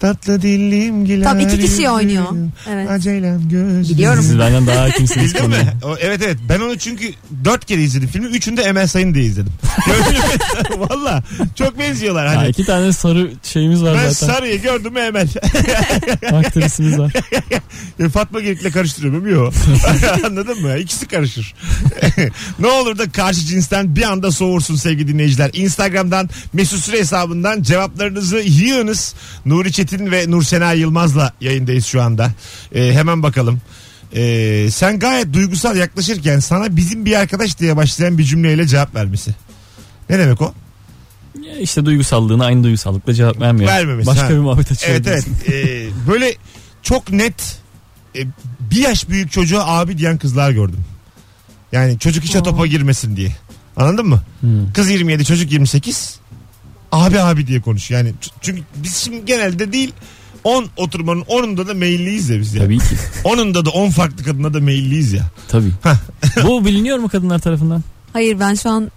Tatlı dillim güler.
Tam iki kişi
yüzüm,
oynuyor. Evet.
Acelem gözüm.
Biliyorum.
Siz benden daha hakimsiniz
Bildin
konuya.
mi? O, evet evet. Ben onu çünkü dört kere izledim filmi. Üçünü de Emel Sayın diye izledim. Valla. Çok benziyorlar.
Ya
Hani.
iki tane sarı şeyimiz var
Ben
zaten.
Sarı'yı gördüm mü Emel.
Aktrisimiz var.
E, Fatma Gerik'le karıştırıyorum. Yok. Anladın mı? İkisi karışır. ne olur da karşı cinsten bir anda soğursun sevgili dinleyiciler. Instagram'dan Mesut Süre hesabından cevaplarınızı yığınız. Nuri Çetin ve Nursena Yılmaz'la yayındayız şu anda. E, hemen bakalım. E, sen gayet duygusal yaklaşırken sana bizim bir arkadaş diye başlayan bir cümleyle cevap vermesi. Ne demek o?
Ya işte duygusallığına aynı duygusallıkla cevap vermiyor.
Vermemesi,
Başka
ha.
bir muhabbet açıyor.
Evet evet.
diyorsun.
E, böyle çok net e, bir yaş büyük çocuğa abi diyen kızlar gördüm. Yani çocuk işe
Aa.
topa girmesin diye. Anladın mı?
Hmm.
Kız 27 çocuk 28. Abi abi diye konuş. Yani ç- çünkü biz şimdi genelde değil 10 oturmanın 10'unda da meyilliyiz ya biz ya.
Tabii ki.
10'unda da 10 farklı kadına da meyilliyiz ya.
Tabii. bu biliniyor mu kadınlar tarafından?
Hayır ben şu an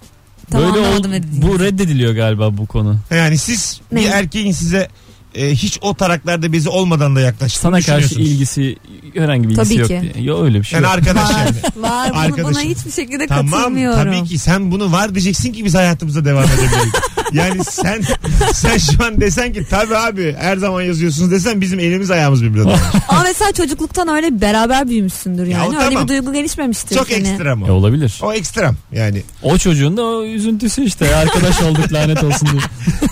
tam
Böyle ol-
anlamadım ne dediğini.
bu reddediliyor galiba bu konu.
Yani siz
Ne?
bir erkeğin size e, hiç o taraklarda bezi olmadan da yaklaştığını
Sana karşı
düşünüyorsunuz.
ilgisi herhangi bir ilgisi
Tabii
yok.
ki.
diye. Yok öyle bir şey
Yani
yok.
arkadaş
Var,
yani.
var. Buna, buna
Arkadaşım.
hiçbir şekilde
Tamam
katılmıyorum.
tabii ki sen bunu var diyeceksin ki biz hayatımıza devam edebiliriz. yani sen sen şu an desen ki tabii abi her zaman yazıyorsunuz desen bizim elimiz ayağımız birbirine dolanır.
Ama mesela çocukluktan öyle beraber büyümüşsündür
Ya o
yani. Öyle
tamam.
bir duygu gelişmemiştir.
Çok
yani.
ekstrem o.
E, olabilir.
O ekstrem yani.
O çocuğun da o üzüntüsü işte. Arkadaş olduk lanet olsun diye.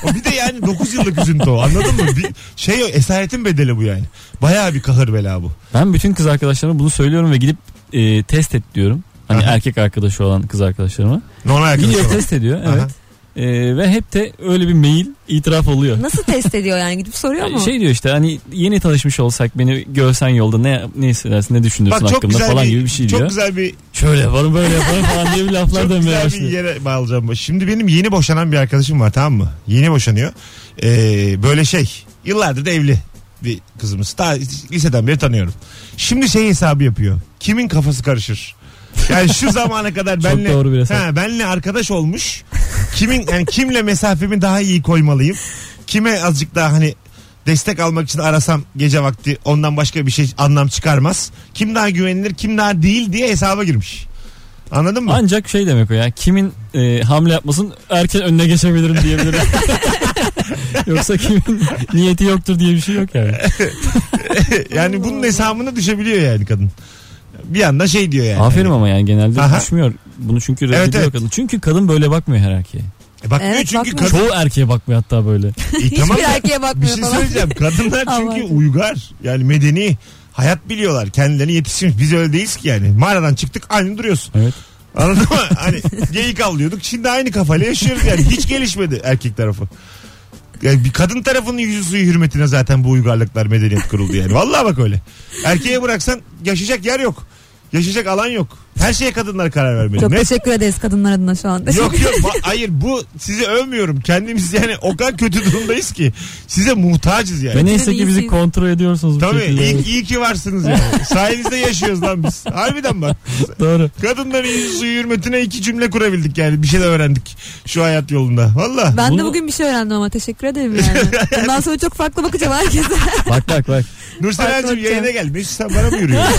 O bir de yani 9 yıllık üzüntü o anladın mı? Bir, şey o esaretin bedeli bu yani. Bayağı bir kahır bela bu.
Ben bütün kız arkadaşlarıma bunu söylüyorum ve gidip e, test et diyorum. Hani
Aha.
erkek arkadaşı olan kız arkadaşlarıma.
Normal arkadaş
Gidiyor
olarak.
test ediyor
Aha.
evet. E, ve hep de öyle bir mail itiraf oluyor.
Nasıl test ediyor yani gidip
Ee,
soruyor mu?
Şey diyor işte hani yeni tanışmış olsak beni görsen yolda ne ne hissedersin ne düşünürsün
Bak çok
hakkında
güzel
falan
bir,
gibi bir şey
çok
diyor.
güzel bir
Şöyle yaparım böyle yaparım falan diye bir laflar
çok
dönmeye
güzel bir
başlıyor.
yere bağlayacağım. bu. Şimdi benim yeni boşanan bir arkadaşım var tamam mı? Yeni boşanıyor. Ee, böyle şey yıllardır da evli bir kızımız. Daha liseden beri tanıyorum. Şimdi şey hesabı yapıyor. Kimin kafası karışır? Yani şu zamana kadar
Çok
benle
doğru bir hesap.
he, benle arkadaş olmuş. Kimin yani kimle mesafemi daha iyi koymalıyım? Kime azıcık daha hani destek almak için arasam gece vakti ondan başka bir şey anlam çıkarmaz. Kim daha güvenilir, kim daha değil diye hesaba girmiş. Anladın mı?
Ancak şey demek o ya kimin e, hamle yapmasın erken önüne geçebilirim diyebilirim. Yoksa kimin niyeti yoktur diye bir şey yok yani.
Yani
Hmm.
bunun hesabına düşebiliyor yani kadın. Bir anda şey diyor yani.
Aferin ama yani genelde
Aha.
düşmüyor. Bunu çünkü reddediyor
evet.
kadın. Çünkü kadın böyle bakmıyor her erkeğe.
E bakmıyor
Evet,
çünkü
bakmıyor.
kadın.
Çoğu erkeğe bakmıyor hatta böyle.
E tamam
Hiçbir
da
erkeğe
bir
bakmıyor
şey
falan.
söyleyeceğim. Kadınlar çünkü
Abartın.
uygar. Yani medeni. Hayat biliyorlar. Kendilerini yetiştirmiş. Biz öyle değiliz ki yani. Mağaradan çıktık aynı duruyorsun.
Evet.
Anladın mı? Hani geyik avlıyorduk. Şimdi aynı kafayla yaşıyoruz yani. Hiç gelişmedi erkek tarafı. Yani bir kadın tarafının yüzü suyu hürmetine zaten bu uygarlıklar medeniyet kuruldu yani. Vallahi bak öyle. Erkeğe bıraksan yaşayacak yer yok. Yaşayacak alan yok. Her şeye kadınlar karar vermeli.
Çok
Ne
teşekkür ederiz kadınlar adına şu anda.
Yok yok Ba- hayır bu sizi övmüyorum. Kendimiz yani o kadar kötü durumdayız ki. Size muhtacız yani.
Ve neyse ki bizi
iyisiniz.
kontrol ediyorsunuz bu
Tabii
şekilde.
iyi, iyi ki varsınız yani. Sayenizde yaşıyoruz lan biz. Harbiden bak.
Doğru.
Kadınların yüzü suyu hürmetine iki cümle kurabildik yani. Bir şey de öğrendik şu hayat yolunda. Valla.
Ben de
Bunu-
bugün bir şey öğrendim ama teşekkür ederim yani. Bundan sonra çok farklı bakacağım herkese.
Bak bak bak.
Nursel'cim
Farklı
yayına gel. Mesut sen bana mı yürüyorsun?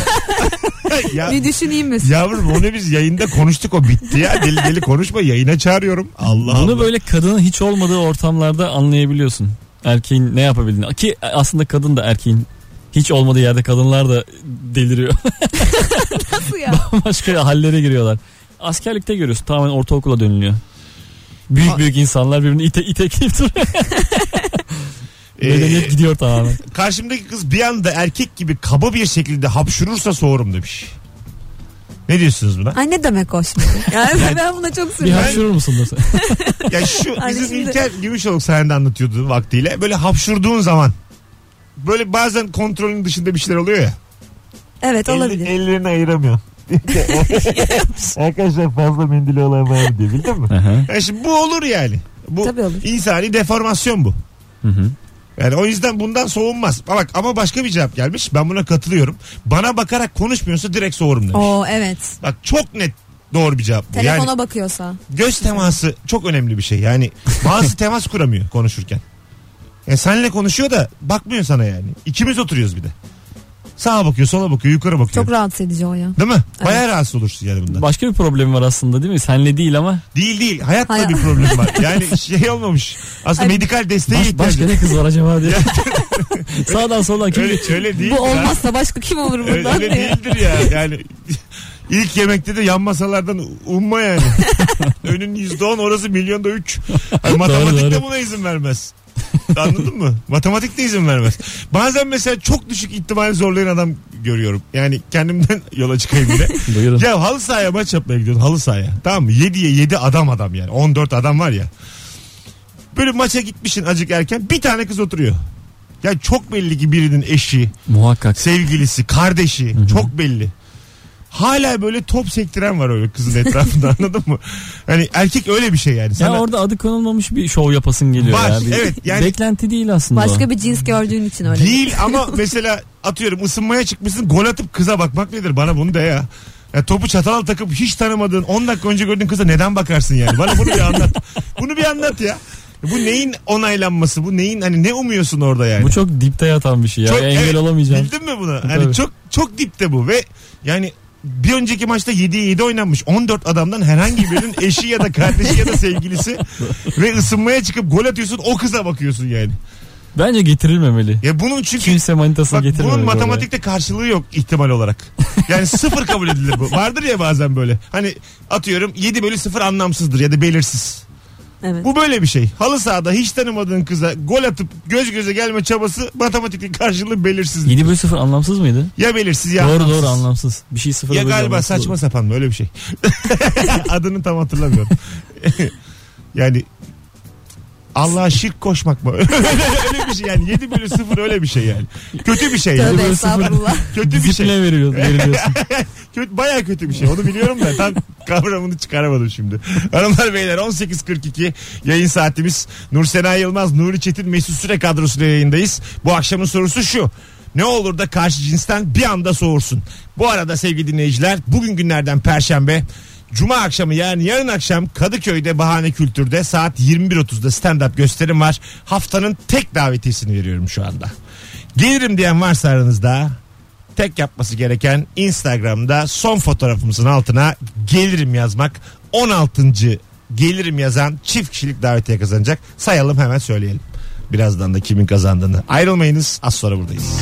ya,
bir düşüneyim mi?
yavrum onu biz yayında konuştuk o bitti ya. Deli deli konuşma yayına çağırıyorum. Allah
Bunu
Allah.
böyle kadının hiç olmadığı ortamlarda anlayabiliyorsun. Erkeğin ne yapabildiğini. Ki aslında kadın da erkeğin hiç olmadığı yerde kadınlar da deliriyor.
Nasıl ya?
Başka hallere giriyorlar. Askerlikte görüyorsun tamamen ortaokula dönülüyor. Büyük büyük insanlar birbirini ite itekleyip duruyor.
Ee,
Medeniyet gidiyor tamamen.
Karşımdaki kız bir anda erkek gibi kaba bir şekilde hapşurursa soğurum demiş. Ne diyorsunuz buna?
Ay ne demek o şimdi? Yani ben buna çok
Bir
sürüyorum.
hapşırır mısın da sen?
ya şu
Hani
bizim
şimdi-
İlker Gümüşoluk sahnede anlatıyordu vaktiyle. Böyle hapşurduğun zaman böyle bazen kontrolün dışında bir şeyler oluyor ya.
Evet olabilir.
ellerini ayıramıyor. Arkadaşlar fazla mendili olan var mı diye bildin mi?
Aha.
Ya şimdi bu olur yani. Bu
Tabii olur.
insani deformasyon bu.
Hı hı.
Yani o yüzden bundan soğunmaz. Ama, ama başka bir cevap gelmiş. Ben buna katılıyorum. Bana bakarak konuşmuyorsa direkt soğurum demiş.
Oo evet.
Bak çok net doğru bir cevap bu. Yani
Telefona bakıyorsa.
göz teması çok önemli bir şey. Yani bazı temas kuramıyor konuşurken. E senle konuşuyor da bakmıyor sana yani. İkimiz oturuyoruz bir de. Sağa bakıyor, sola bakıyor, yukarı bakıyor.
Çok rahatsız edici o ya.
Değil mi? Bayağı rahatsız olursun yani bundan.
Başka bir problemi var aslında değil mi? Senle değil ama
Değil değil. Hayatla
Hayat-
bir problem var. Yani şey olmamış. Aslında
Ay-
medikal desteğe
baş,
ihtiyacı
başka ne kız var acaba diye. Sağdan soldan kim
Öyle, öyle değil.
Bu
ya.
olmazsa başka kim olur
Öyle,
bundan?
öyle değildir ya. Yani ilk yemekte de yan masalardan umma yani. Önün yüzde on orası milyonda üç. Ay, matematik de
doğru.
buna izin vermez. Anladın mı? Matematik de izin vermez. Bazen mesela çok düşük ihtimali zorlayan adam görüyorum. Yani kendimden yola çıkayım bile.
Buyurun.
Ya halı sahaya maç yapmaya gidiyorsun halı sahaya. Tamam mı? 7'ye 7 adam adam yani. 14 adam var ya. Böyle maça gitmişsin acık erken bir tane kız oturuyor. Ya çok belli ki birinin eşi,
Muhakkak.
sevgilisi, kardeşi çok belli. Hala böyle top sektiren var öyle kızın etrafında anladın mı? Hani erkek öyle bir şey yani.
Ya
Sana
orada adı konulmamış bir şov yapasın geliyor
Var,
ya. Bir-
evet, yani-
Beklenti değil aslında. o.
Başka bir cins gördüğün için öyle.
değil ama mesela atıyorum ısınmaya çıkmışsın gol atıp kıza bakmak nedir bana bunu de ya. Ya topu çatal takıp hiç tanımadığın 10 dakika önce gördüğün kıza neden bakarsın yani? Bana bunu bir anlat. Bunu bir anlat ya. Bu neyin onaylanması? Bu neyin hani ne umuyorsun orada yani?
Bu çok dipte yatan bir şey ya.
Çok-
Engel
evet.
olamayacağım.
Bildin mi bunu? Hani
Tabii.
çok çok dipte bu ve yani bir önceki maçta 7'ye 7 oynanmış 14 adamdan herhangi birinin eşi ya da kardeşi ya da sevgilisi ve ısınmaya çıkıp gol atıyorsun o kıza bakıyorsun yani.
Bence getirilmemeli.
Ya bunun çünkü
Kimse manitasını
Bak
getirmemeli.
bunun
oraya.
matematikte karşılığı yok ihtimal olarak. Yani sıfır kabul edilir bu. Vardır ya bazen böyle. Hani atıyorum 7 bölü 0 anlamsızdır ya da belirsiz.
Evet.
Bu böyle bir şey. Halı sahada hiç tanımadığın kıza gol atıp göz göze gelme çabası matematikte karşılığı belirsiz.
7 bölü 0 anlamsız mıydı?
Ya belirsiz ya
doğru
anlamsız.
doğru anlamsız. Bir şey sıfır
Ya
bölü
galiba
anlamsız
saçma
olur.
sapan mı öyle bir şey. Adını tam hatırlamıyorum. yani Allah'a şirk koşmak mı? öyle bir şey yani. 7 bölü 0 öyle bir şey yani. Kötü bir şey yani.
Tövbe
böyle sıfır-
estağfurullah.
Kötü bir şey.
Disipline veriyor, veriliyorsun.
Kötü, bayağı kötü bir şey. Onu biliyorum da tam kavramını çıkaramadım şimdi. Hanımlar beyler 18.42 yayın saatimiz. Nursena Yılmaz, Nuri Çetin, Mesut Süre kadrosuyla yayındayız. Bu akşamın sorusu şu. Ne olur da karşı cinsten bir anda soğursun. Bu arada sevgili dinleyiciler bugün günlerden perşembe. Cuma akşamı yani yarın akşam Kadıköy'de Bahane Kültür'de saat 21.30'da stand-up gösterim var. Haftanın tek davetiyesini veriyorum şu anda. Gelirim diyen varsa aranızda tek yapması gereken Instagram'da son fotoğrafımızın altına gelirim yazmak. 16. gelirim yazan çift kişilik davetiye kazanacak. Sayalım hemen söyleyelim. Birazdan da kimin kazandığını. Ayrılmayınız az sonra buradayız.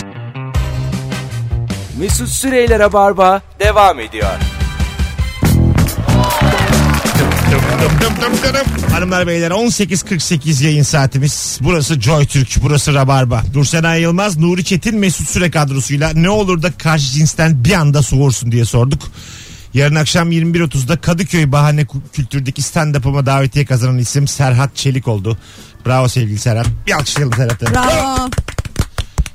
Mesut Süreyler'e barba devam ediyor.
Dım dım dırım. Hanımlar beyler 18.48 yayın saatimiz. Burası Joy Türk, burası Rabarba. Dursenay Yılmaz, Nuri Çetin, Mesut Süre kadrosuyla ne olur da karşı cinsten bir anda soğursun diye sorduk. Yarın akşam 21.30'da Kadıköy Bahane Kü- Kültür'deki stand-up'ıma davetiye kazanan isim Serhat Çelik oldu. Bravo sevgili Serhat. Bir alkışlayalım Serhat'a.
Bravo.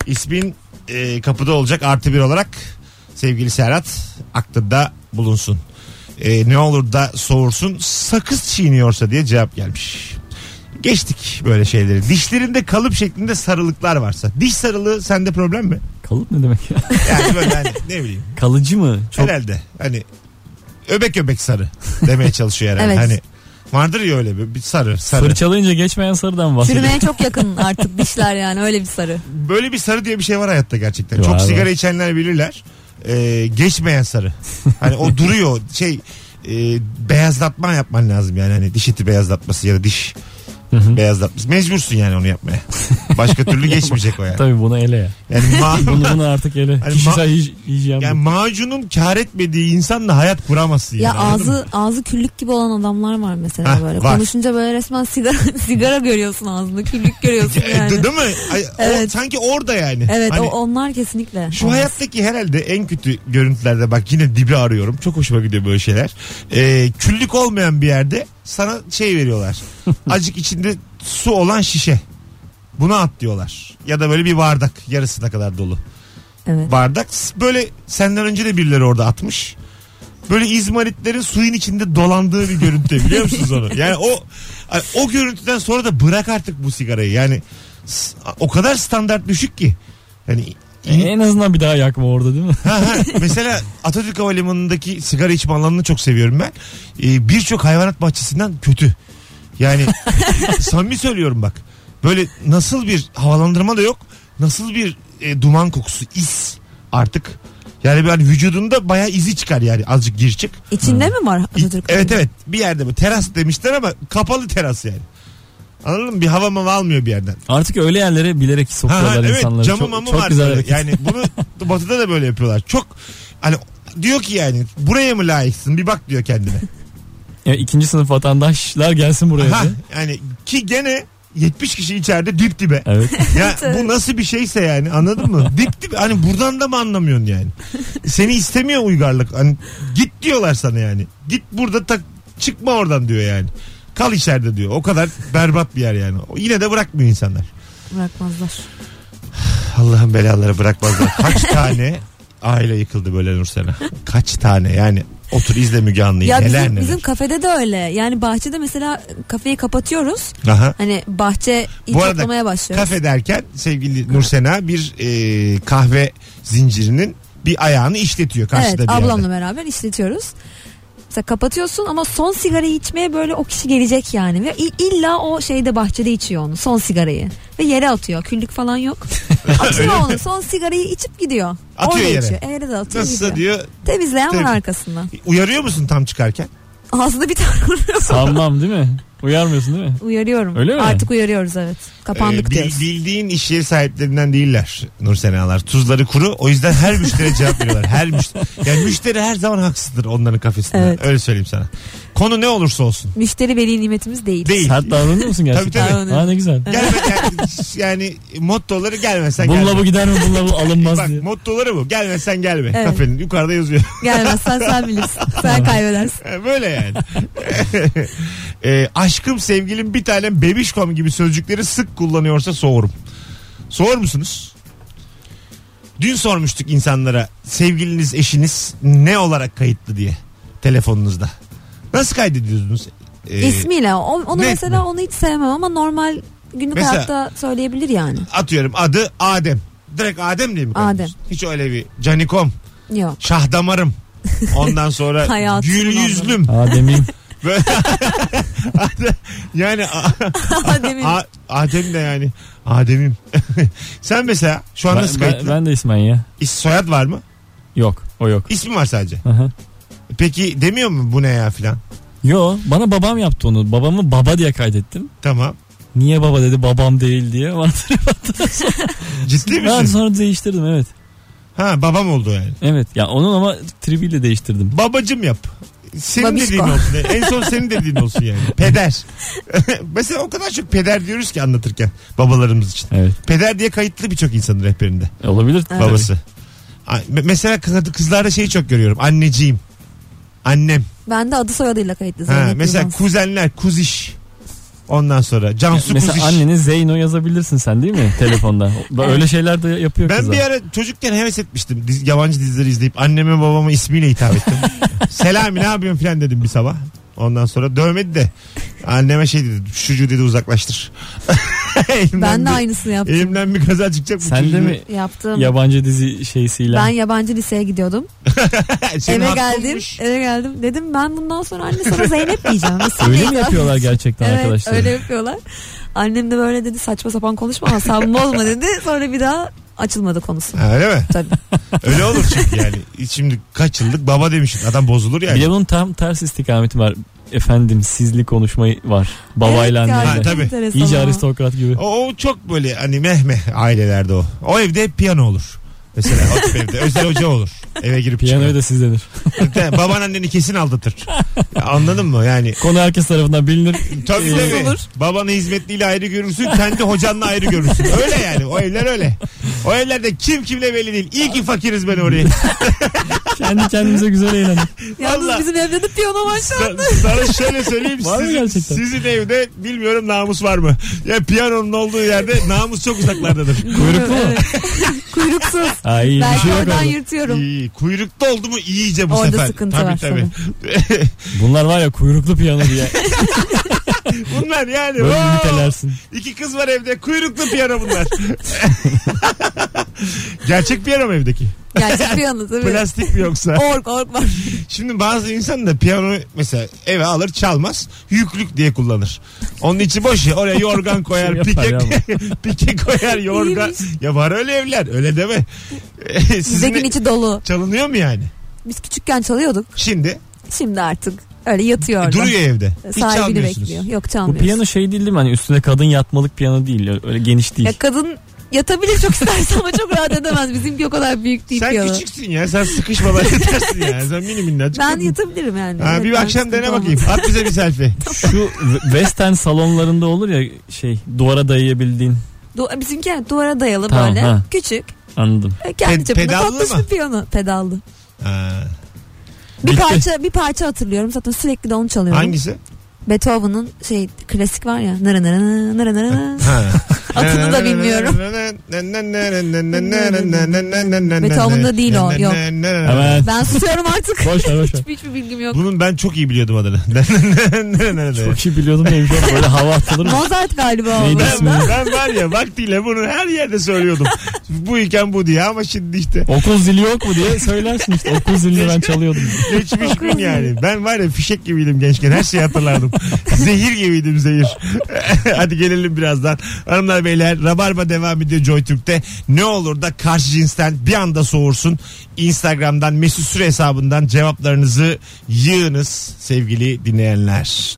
İsmin e, kapıda olacak artı bir olarak sevgili Serhat aklında bulunsun. E, ne olur da soğursun sakız çiğniyorsa diye cevap gelmiş. Geçtik böyle şeyleri. Dişlerinde kalıp şeklinde sarılıklar varsa. Diş sarılığı sende problem mi?
Kalıp ne demek ya?
Yani böyle hani ne bileyim
Kalıcı mı? Çok
herhalde hani öbek öbek sarı demeye çalışıyor herhalde.
Evet.
Hani vardır ya öyle bir bir sarı sarı.
fırçalayınca geçmeyen sarıdan bahsediyor.
Çürümeye çok yakın artık dişler yani öyle bir sarı.
Böyle bir sarı diye bir şey var hayatta gerçekten.
Var,
Çok
var.
sigara içenler bilirler. Ee, geçmeyen sarı. Hani o duruyor. Şey e, beyazlatma yapman lazım yani. Hani diş eti beyazlatması ya da diş beyazlatması. Mecbursun yani onu yapmaya. Başka türlü geçmeyecek o yani.
Tabii bunu ele ya.
Yani, ma-
Bunu, bunu artık ele.
Hani
Kişisel hij- hijyen. bu.
yani macunun kar etmediği insanla hayat kuramazsın yani.
Ya
anladın mı?
ağzı ağzı küllük gibi olan adamlar var mesela
Hah,
böyle.
var.
Konuşunca böyle resmen sigara sigara görüyorsun ağzında. Küllük görüyorsun
E,
yani.
de- Değil mi? Ay, o-
Evet.
sanki orada yani.
Evet
Hani
o onlar kesinlikle.
Şu
Olmaz.
hayattaki herhalde en kötü görüntülerde bak yine dibi arıyorum. Çok hoşuma gidiyor böyle şeyler. Ee, küllük olmayan bir yerde sana şey veriyorlar. Acık içinde su olan şişe. Buna at diyorlar. Ya da böyle bir bardak yarısına kadar dolu.
Evet.
Bardak böyle senden önce de birileri orada atmış. Böyle izmaritlerin suyun içinde dolandığı bir görüntü biliyor musunuz onu? Yani o o görüntüden sonra da bırak artık bu sigarayı. Yani s- o kadar standart düşük ki. Hani
en azından bir daha yakma orada değil mi?
Ha, ha. Mesela Atatürk Havalimanı'ndaki sigara içme alanını çok seviyorum ben. Ee, Birçok hayvanat bahçesinden kötü. Yani samimi söylüyorum bak. Böyle nasıl bir havalandırma da yok. Nasıl bir e, duman kokusu, is artık. Yani ben vücudunda bayağı izi çıkar yani azıcık gir çık.
İçinde mi var Atatürk?
Evet evet bir yerde bu teras demişler ama kapalı teras yani. Anladın mı? Bir hava mava almıyor bir yerden.
Artık öyle yerlere bilerek
Ha, ha,
sokuyorlar
evet
insanları.
camı
çok,
mamı
çok
var.
güzel
böyle.
hareket.
Yani bunu batıda da böyle yapıyorlar. Çok hani diyor ki yani buraya mı layıksın bir bak diyor kendine.
Ya ikinci sınıf vatandaşlar gelsin buraya.
ha,
diye.
yani ki gene 70 kişi içeride dip dibe.
Evet.
Ya bu nasıl bir şeyse yani anladın mı? Dip dibe hani buradan da mı anlamıyorsun yani? Seni istemiyor uygarlık. Hani git diyorlar sana yani. Git burada tak çıkma oradan diyor yani. Kal içeride diyor. O kadar berbat bir yer yani. O- Yine de bırakmıyor insanlar.
Bırakmazlar.
Allah'ın belaları bırakmazlar. Kaç tane aile yıkıldı böyle Nursen'e? Kaç tane yani otur izle Müge Anlı'yı
Ya
neler
bizim,
neler.
bizim kafede de öyle. Yani bahçede mesela kafeyi kapatıyoruz.
Aha.
Hani bahçe iyi
Bu arada
toplamaya başlıyoruz.
Kafe derken sevgili Nursena bir e, kahve zincirinin bir ayağını işletiyor karşıda
evet
bir yerde.
ablamla beraber işletiyoruz. Mesela kapatıyorsun ama son sigarayı içmeye böyle o kişi gelecek yani. Ve i- illa o şeyde bahçede içiyor onu son sigarayı. Ve yere atıyor. Küllük falan yok. atıyor onu son sigarayı içip gidiyor.
Atıyor
Orada
yere.
Içiyor. Yere de atıyor
Nasılsa
gidiyor.
diyor
Temizleyen
Temiz.
var arkasından.
uyarıyor musun tam çıkarken?
Ağzında bir tane vuruyor.
Sanmam değil mi? Uyarmıyorsun değil mi?
Uyarıyorum.
Öyle mi?
Artık uyarıyoruz evet. Kapandık
Ee, bil-
diyoruz.
bildiğin iş yeri sahiplerinden değiller Nursena'lar. Tuzları kuru o yüzden her müşteriye cevap veriyorlar. Her müşteri, yani müşteri her zaman haksızdır onların kafesinde.
Evet.
Öyle söyleyeyim sana. Konu ne olursa olsun.
Müşteri veli nimetimiz değil.
Değil.
Sert davranıyor musun gerçekten?
Tabii,
tabii.
Ha, ne güzel.
Gelme yani, yani mottoları gelmesen
Bununla
gelme.
bu gider mi? Bununla bu alınmaz
Bak
diye.
mottoları bu. Gelmesen gelme.
Evet.
Kafenin yukarıda yazıyor.
Gelmezsen sen bilirsin. Sen kaybedersin.
Böyle yani. Ee, aşkım sevgilim bir tanem bebişkom gibi sözcükleri sık kullanıyorsa soğurum. Soğur musunuz? Dün sormuştuk insanlara sevgiliniz eşiniz ne olarak kayıtlı diye telefonunuzda. Nasıl kaydediyordunuz? Ee,
İsmiyle. O- onu
net
mesela
mi?
onu hiç sevmem ama normal günlük
Mesela-
hayatta söyleyebilir yani.
Atıyorum adı Adem. Direkt Adem diye mi kaydediyorsun? Hiç öyle bir canikom.
Yok.
Şahdamarım. Ondan sonra
Hayatım
gül yüzlüm.
Adem'im.
Böyle- yani a-
Adem'in
a- Adem de yani Adem'im. Sen mesela şu an
Ben,
nasıl
ben,
kayıtlı?
ben de İsmail ya.
İs- soyad var mı?
Yok o yok.
İsmi var sadece.
Aha.
Peki demiyor mu bu ne ya filan?
Yo bana babam yaptı onu. Babamı baba diye kaydettim.
Tamam.
Niye baba dedi babam değil diye. Bana trip attı.
Ciddi
ben
misin?
sonra değiştirdim evet.
Ha babam oldu yani.
Evet ya onun ama tribiyle değiştirdim.
Babacım yap. Senin
Babişko.
dediğin olsun. En son senin dediğin olsun yani. Peder. mesela o kadar çok peder diyoruz ki anlatırken babalarımız için.
Evet.
Peder diye kayıtlı birçok insanın rehberinde.
Olabilir.
Evet.
babası. A- me- Mesela kız- kızlarda şeyi çok görüyorum. Anneciğim. Annem.
ben de adı soyadıyla kayıtlı
Ha,
Zeynep
mesela
Yılmaz.
kuzenler, kuziş. Ondan sonra Cansu
Mesela
kuziş.
annene Zeyno yazabilirsin sen değil mi telefonda? Öyle şeyler de yapıyor
Ben
kızlar.
bir ara çocukken heves etmiştim. Diz- yabancı dizileri izleyip anneme babama ismiyle hitap ettim. Selami ne yapıyorsun filan dedim bir sabah. Ondan sonra dövmedi de anneme şey dedi. Şu çocuğu dedi uzaklaştır. Elimden
Ben de
bir- E-
aynısını yaptım.
Elimden bir kaza çıkacak. bu
Sen de
çocuğu.
mi
Yaptım.
yabancı dizi şeysiyle?
ben yabancı liseye gidiyordum.
Senin
eve
hakkın
geldim.
Şey, olmuş.
Eve geldim. Dedim ben bundan sonra anne sana Zeynep diyeceğim. İsim
Öyle
neydi?
mi yapıyorlar gerçekten
Evet
arkadaşlar?
öyle yapıyorlar. Annem de böyle dedi saçma sapan konuşma asabımı bozma dedi. Sonra bir daha açılmadı konusu.
Ha, Öyle mi?
Tabii.
Öyle olur çünkü yani. Şimdi kaç yıllık baba demişsin. Adam bozulur yani.
Bir de bunun tam ters istikameti var. Efendim sizli konuşmayı var. Babayla
Evet ya,
anneyle.
Ha,
çok
tabii.
enteresan
İyice
ama.
aristokrat gibi.
O, o çok böyle hani mehmeh ailelerde o. O evde hep piyano olur. Mesela o tip evde Özel Hoca olur. Eve girip
Piyanoyu
Piyano
da siz denir.
Baban anneni kesin aldatır. Ya Anladın mı yani?
Konu herkes tarafından bilinir.
Tabii
Ee,
tabii.
olur.
Babanı hizmetliyle ayrı görürsün, kendi hocanla ayrı görürsün. Öyle yani. O evler öyle. O evlerde kim kimle belli değil. İyi ki fakiriz ben oraya.
Kendi kendimize güzel eğlendik.
Yalnız
Vallahi.
bizim evde de piyano var şu an.
Sa- Sana şöyle söyleyeyim.
Var mı
sizin,
gerçekten?
sizin evde bilmiyorum namus var mı? Ya piyanonun olduğu yerde namus çok uzaklardadır.
Kuyruklu mu?
Evet. Kuyruksuz.
Ay, bir
Belki
şey yok
oradan
orada.
yırtıyorum.
İyi, kuyrukta oldu mu iyice bu
Orada
sefer.
sıkıntı
tabii,
var
tabii.
Bunlar var ya kuyruklu piyano diye.
Bunlar yani.
Böyle
wow!
nitelersin.
İki kız var evde. Kuyruklu piyano bunlar. Gerçek piyano mu evdeki?
Gerçek piyano tabii.
Plastik mi yoksa?
Ork ork var.
Şimdi bazı insan da piyano mesela eve alır çalmaz yüklük diye kullanır. Onun içi boş ya oraya yorgan koyar
Şey
pike,
yapar
pike koyar yorgan.
İyiymiş.
ya var öyle evler öyle deme.
Bize
Sizin
gün içi dolu.
çalınıyor mu yani?
Biz küçükken çalıyorduk.
Şimdi e,
Şimdi artık öyle yatıyor orada.
duruyor evde. Hiç
Sahibini
çalmıyorsunuz.
bekliyor. Yok
Bu
çalmıyoruz.
piyano şey değil değil mi? Hani üstüne kadın yatmalık piyano değil. Öyle geniş değil.
Ya kadın yatabilir çok isterse ama çok rahat edemez. Bizimki o kadar büyük değil
Sen
piyano.
küçüksün ya sen sıkışmadan yetersin ya. Sen mini minnacık.
Ben
kadın.
yatabilirim yani.
Ha,
Evet,
bir
ben
akşam
sıkıntı
dene
olmaz.
bakayım. At bize bir selfie.
Şu western salonlarında olur ya şey duvara dayayabildiğin.
Du- bizimki duvara dayalı
Tamam,
böyle.
ha.
Küçük.
Anladım.
E, Kendi
Pe-
cebinde
pedallı
tatlış
mı?
bir piyano. Pedallı.
Ha,
Bir
Bitti.
parça bir parça hatırlıyorum zaten sürekli de onu çalıyorum.
hangisi?
Beethoven'ın şey klasik var ya. Nara nara nara nara nara.
Ha.
Adını
Ee,
da bilmiyorum. Beethoven'da değil o, yok.
Hemen.
Ben susuyorum artık.
Boş ver boş ver.
Hiçbir, hiçbir bilgim yok.
Bunun ben çok iyi biliyordum adını.
Çok iyi biliyordum neymiş oğlum. Böyle hava atılır mı?
Mozart galiba o.
Neydi
ben,
ismi?
ben var ya vaktiyle bunu her yerde söylüyordum. bu iken bu diye ama şimdi işte
Okul zili yok mu diye söylersin işte. Okul zilini ben çalıyordum.
geçmiş gün yani. Ben var ya fişek gibiydim gençken her şeyi hatırlardım. zehir gibiydim zehir. Hadi gelelim birazdan. Hanımlar beyler Rabarba devam ediyor Joy Türk'te. Ne olur da karşı cinsten bir anda soğursun. Instagram'dan Mesut Süre hesabından cevaplarınızı yığınız sevgili dinleyenler.